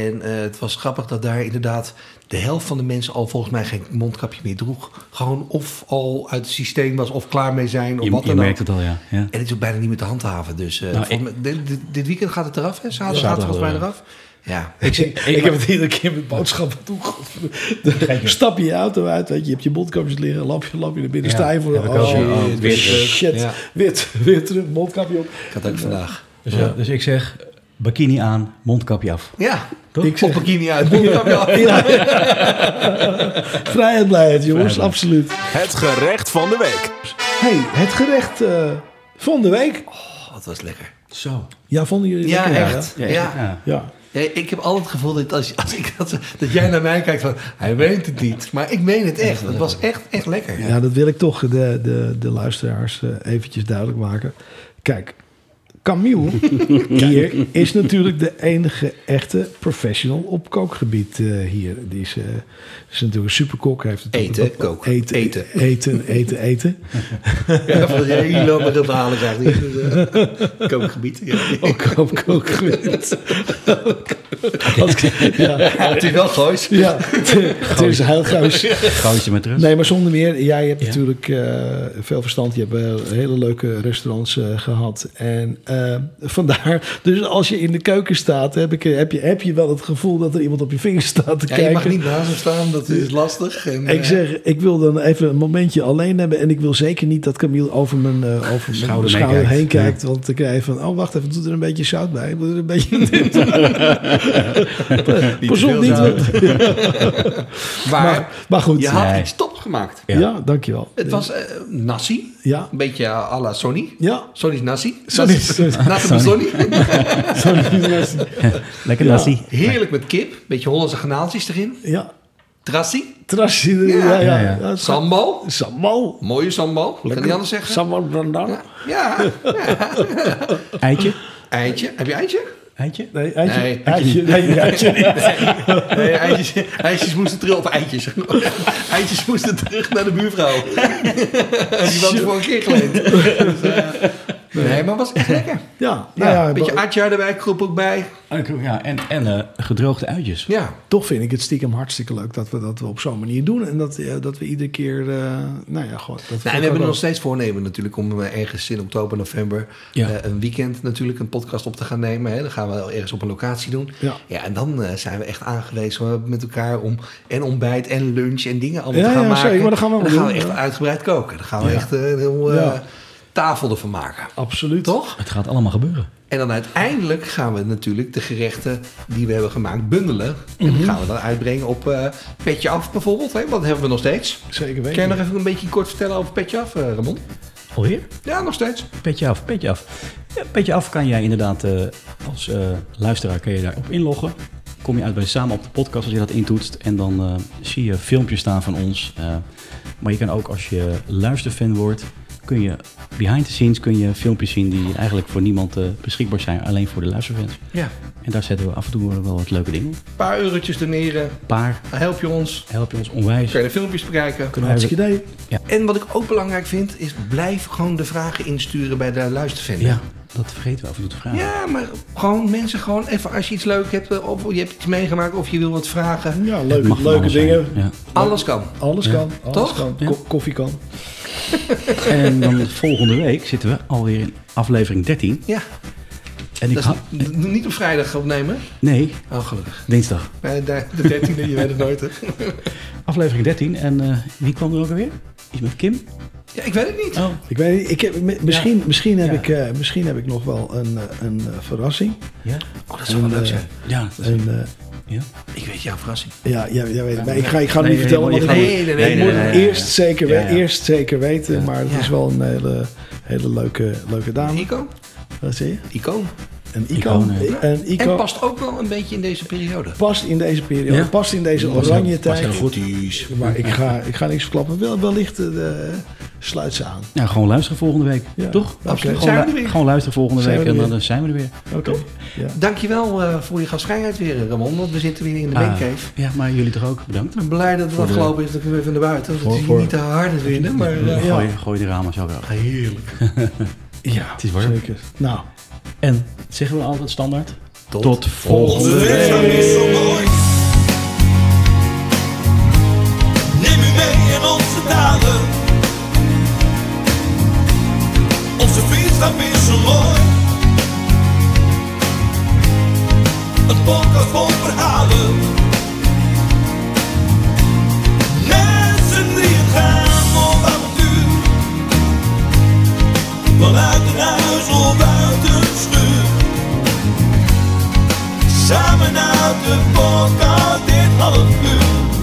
S4: En eh, het was grappig dat daar inderdaad... de helft van de mensen al volgens mij geen mondkapje meer droeg. Gewoon of al uit het systeem was... of klaar mee zijn, of
S5: Je,
S4: wat
S5: je
S4: dan ook.
S5: merkt het al, ja. ja.
S4: En het is ook bijna niet meer te handhaven. Dus eh,
S5: Nou,
S4: volgens mij- dit, dit- dit weekend gaat het eraf, hè? Zaterdag gaat het
S5: Zaterdag
S4: volgens mij
S5: eraf.
S4: eraf. Ja.
S3: Ik, ik, heb het iedere keer met boodschappen toe. Stap je je auto uit, weet je, je hebt je mondkapjes liggen, lampje, lampje naar binnen,
S5: Ja,
S3: sta je voor de
S5: heb ik ook,
S3: oh,
S5: ja.
S3: shit,
S5: Oh, weer terug.
S3: shit,
S4: Ja.
S3: weer, terug, weer terug, mondkapje op.
S4: Ik had ook vandaag.
S5: Dus, ja, dus ik zeg, bikini aan, mondkapje af.
S4: Ja,
S5: Toch?
S4: ik zeg, op bikini uit. mondkapje af.
S3: Vrijheid, blijheid, jongens,
S5: Vrijheid.
S3: absoluut.
S1: Het gerecht van de week.
S3: hey, het gerecht eh, van de week.
S4: Oh, dat was lekker.
S5: Zo.
S3: Ja, vonden jullie
S4: Ja,
S3: lekker, hè?
S4: echt.
S5: Ja.
S4: Ja.
S5: ja.
S3: Ja.
S4: Ja, ik heb altijd het gevoel dat, als, als ik dat, dat jij naar mij kijkt van... Hij weet het niet, maar ik meen het echt. Het was echt, echt lekker.
S3: Ja, dat wil ik toch de, de, de luisteraars eh, eventjes duidelijk maken. Kijk, Camille hier is natuurlijk de enige echte professional op kookgebied eh, hier. Die is, eh, is natuurlijk een superkok. Heeft het
S4: Eten,
S3: op- op-
S4: kook,
S3: Eten,
S4: eten.
S3: eten, eten, eten.
S4: Ja, van, ja, jullie lopen met dat halen krijgt. Dus, eh, kookgebied. Ja.
S3: Ook op kookgebied. ja,
S4: Ja, het is wel goois.
S3: ja, het is heel gauws.
S5: Gootje met
S4: Dus-
S5: rust.
S3: Nee, maar zonder meer. Jij hebt
S5: Ja.
S3: natuurlijk eh, veel verstand. Je hebt eh, hele leuke restaurants eh, gehad. En eh, vandaar, dus als je in de keuken staat, heb, ik, heb, je, heb je wel het gevoel dat er iemand op je vinger staat te
S4: Ja,
S3: kijken.
S4: je mag niet naast hem staan, dat is lastig. En,
S3: Ik
S4: eh,
S3: zeg, ik wil dan even een momentje alleen hebben. En ik wil zeker niet dat Camille over mijn, eh, over mijn
S5: Schouder
S3: schouder,
S5: meekijkt.
S3: heen kijkt. Want dan krijg je van, oh wacht even, doe er een beetje zout bij. Doe er een beetje... Pas op,
S4: veel
S3: niet.
S4: zout.
S3: want-
S4: maar,
S3: Maar, maar goed.
S4: je
S3: Ja,
S4: had
S5: Nee.
S4: iets top gemaakt.
S3: dankjewel.
S4: Het was eh, nasi,
S3: Ja,
S4: een beetje à la Sony.
S3: ja.
S4: Sony's nasi.
S3: Sorry.
S4: Nasi van Sony.
S5: Lekker nasi.
S4: Heerlijk met kip, beetje Hollandse granaaltjes erin.
S3: Ja,
S4: Trassi,
S3: Trassi.
S4: Ja.
S3: Ja, ja,
S5: Ja,
S3: ja.
S5: ja.
S4: sambal.
S3: Sambal.
S4: Mooie sambal, kan je anders zeggen?
S3: Sambal brandang.
S4: Ja, ja.
S5: Eitje.
S4: Eitje. Heb je eitje?
S5: Eitje.
S3: Nee, eitje.
S4: Nee.
S3: eitje, nee, eitje niet.
S4: Nee, eitjes, eitjes moesten terug, of eitjes. Eitjes moesten terug naar de buurvrouw. Die was voor een keer geleend. Dus, eh, nee, maar was echt lekker.
S3: Ja, nou
S4: Ja,
S3: ja,
S4: een beetje
S3: maar
S4: atjar erbij, kroep ook bij.
S5: Ja, en, en eh, gedroogde uitjes.
S4: Ja,
S3: toch vind ik het stiekem hartstikke leuk dat we dat we op zo'n manier doen. En dat, eh, dat we iedere keer, eh, nou ja, gewoon... Dat
S4: Nou, en we hebben nog steeds voornemen natuurlijk om eh, ergens in oktober, november
S5: Ja.
S4: eh, een weekend natuurlijk een podcast op te gaan nemen. Hè. Dan gaan we wel ergens op een locatie doen.
S3: Ja.
S4: en dan eh, zijn we echt aangewezen eh, met elkaar om en ontbijt en lunch en dingen allemaal
S3: Ja,
S4: te gaan
S3: ja,
S4: maken.
S3: zeker, maar dat gaan we
S4: En dan
S3: wel
S4: gaan we
S3: doen,
S4: echt
S3: ja.
S4: uitgebreid koken. Dan gaan we
S3: Ja.
S4: echt eh, een heel eh,
S3: Ja.
S4: tafel ervan maken.
S3: Absoluut.
S4: Toch?
S5: Het gaat allemaal gebeuren.
S4: En dan uiteindelijk gaan we natuurlijk de gerechten die we hebben gemaakt bundelen. En
S3: Mhm.
S4: die gaan we dan uitbrengen op eh, Petje Af bijvoorbeeld. Hè? Want dat hebben we nog steeds.
S3: Zeker
S4: Kan je
S3: weten.
S4: nog even een beetje kort vertellen over Petje Af, eh, Ramon?
S5: Alweer?
S4: Ja, nog steeds.
S5: Petje af, petje af. Ja, petje af kan jij inderdaad eh, als eh, luisteraar kan je daarop inloggen. Kom je uit bij Samen op de podcast als je dat intoetst. En dan eh, zie je filmpjes staan van ons. Eh, maar je kan ook als je luisterfan wordt, kun je behind the scenes kun je filmpjes zien die eigenlijk voor niemand eh, beschikbaar zijn. Alleen voor de luisterfans.
S4: Ja.
S5: En daar zetten we af en toe wel wat leuke dingen. op.
S4: Een paar eurotjes doneren,
S5: Paar,
S4: dan help je ons.
S5: help je ons onwijs.
S4: Kun je de filmpjes bekijken.
S3: Hartstikke idee.
S4: En wat ik ook belangrijk vind, is blijf gewoon de vragen insturen bij de luistervender.
S5: Ja, dat vergeten we af en toe te vragen.
S4: Ja, maar gewoon mensen gewoon even als je iets leuk hebt eh, of je hebt iets meegemaakt of je wil wat vragen.
S3: Ja,
S5: Het
S3: leuke,
S5: mag van
S3: leuke
S5: alles zijn.
S3: dingen.
S5: Ja.
S4: Alles kan.
S3: Alles kan. Alles
S4: Toch?
S3: kan.
S5: Ja.
S3: Ko- koffie kan.
S5: En dan volgende week zitten we alweer in aflevering 13.
S4: Ja,
S5: En ik
S4: dat
S5: ha-
S4: is n- niet op vrijdag opnemen.
S5: Nee,
S4: Oh, gelukkig.
S5: dinsdag.
S4: Bij de, de 13e, je weet het nooit. hè.
S5: Aflevering 13. En eh, wie kwam er ook alweer? Iets met Kim?
S4: Ja, ik weet het niet.
S5: Oh.
S3: Ik weet niet, ik heb, mi- misschien, misschien, heb
S5: Ja.
S3: ik, eh, misschien heb ik nog wel een, eh, een eh, verrassing.
S5: Ja?
S4: Oh, dat zou wel
S3: En,
S4: leuk
S3: eh,
S4: zijn.
S5: Ja. dat is-
S3: En, eh,
S5: ja.
S4: Ik weet jouw verrassing.
S3: ja, ja, ja, weet ik. Maar ik ga, ik ga het
S5: Nee,
S3: niet vertellen,
S5: nee,
S3: want
S5: je
S3: ik
S5: gaat-
S3: moet-
S4: nee, nee, nee,
S3: Ik moet
S4: nee,
S3: het
S4: nee,
S3: eerst, zeker we-
S5: Ja, ja.
S3: eerst zeker weten, maar het
S4: Ja.
S3: is wel een hele, hele leuke, leuke dame.
S4: Ico?
S3: Wat zie je?
S4: Ico.
S3: Een
S5: Icoon,
S3: icoon.
S5: ja.
S3: Een
S4: En
S3: icoon past.
S4: past ook wel een beetje in deze periode.
S3: in deze periode,
S5: Ja.
S3: past in deze
S5: Was heel-
S3: oranje
S5: was heel
S3: tijd.
S5: goed.
S3: Maar ik ga, ik ga niks verklappen. Wel, wellicht eh, de- sluit ze aan.
S5: Nou, gewoon luisteren volgende week.
S3: Ja.
S5: Toch?
S3: Oké.
S5: Absoluut.
S4: Zijn we
S5: Gewoon,
S4: er
S5: lu-
S4: weer?
S5: gewoon luisteren volgende
S3: Zijn
S5: week
S3: we
S5: en
S3: er
S5: dan
S3: weer?
S5: eh, zijn we er weer.
S3: Oké. Ja.
S4: Dankjewel eh voor je gastvrijheid weer, Ramon. Want we zitten weer in de
S5: Ah,
S4: Mancave.
S5: ja, maar jullie toch ook? Bedankt.
S4: Ik ben blij dat het
S5: Voor de-
S4: afgelopen is dat we weer van de buiten. want
S5: Voor-
S4: het is
S5: voor-
S4: niet te hard is weer, hè, maar... eh,
S3: Ja.
S5: Gooi, gooi de ramen zo wel.
S4: Heerlijk.
S3: ja,
S5: Het is warm.
S3: zeker. Nou,
S5: En zeggen we altijd standaard?
S4: Tot
S5: volgende
S2: De wereld is zo mooi. Neem u mee in onze dalen. Onze vriendschap is zo mooi. Een podcast vol verhalen. Mensen die het gaan op avontuur. Vanuit een huis of uit een schuur. Samen uit de podcast dit half uur.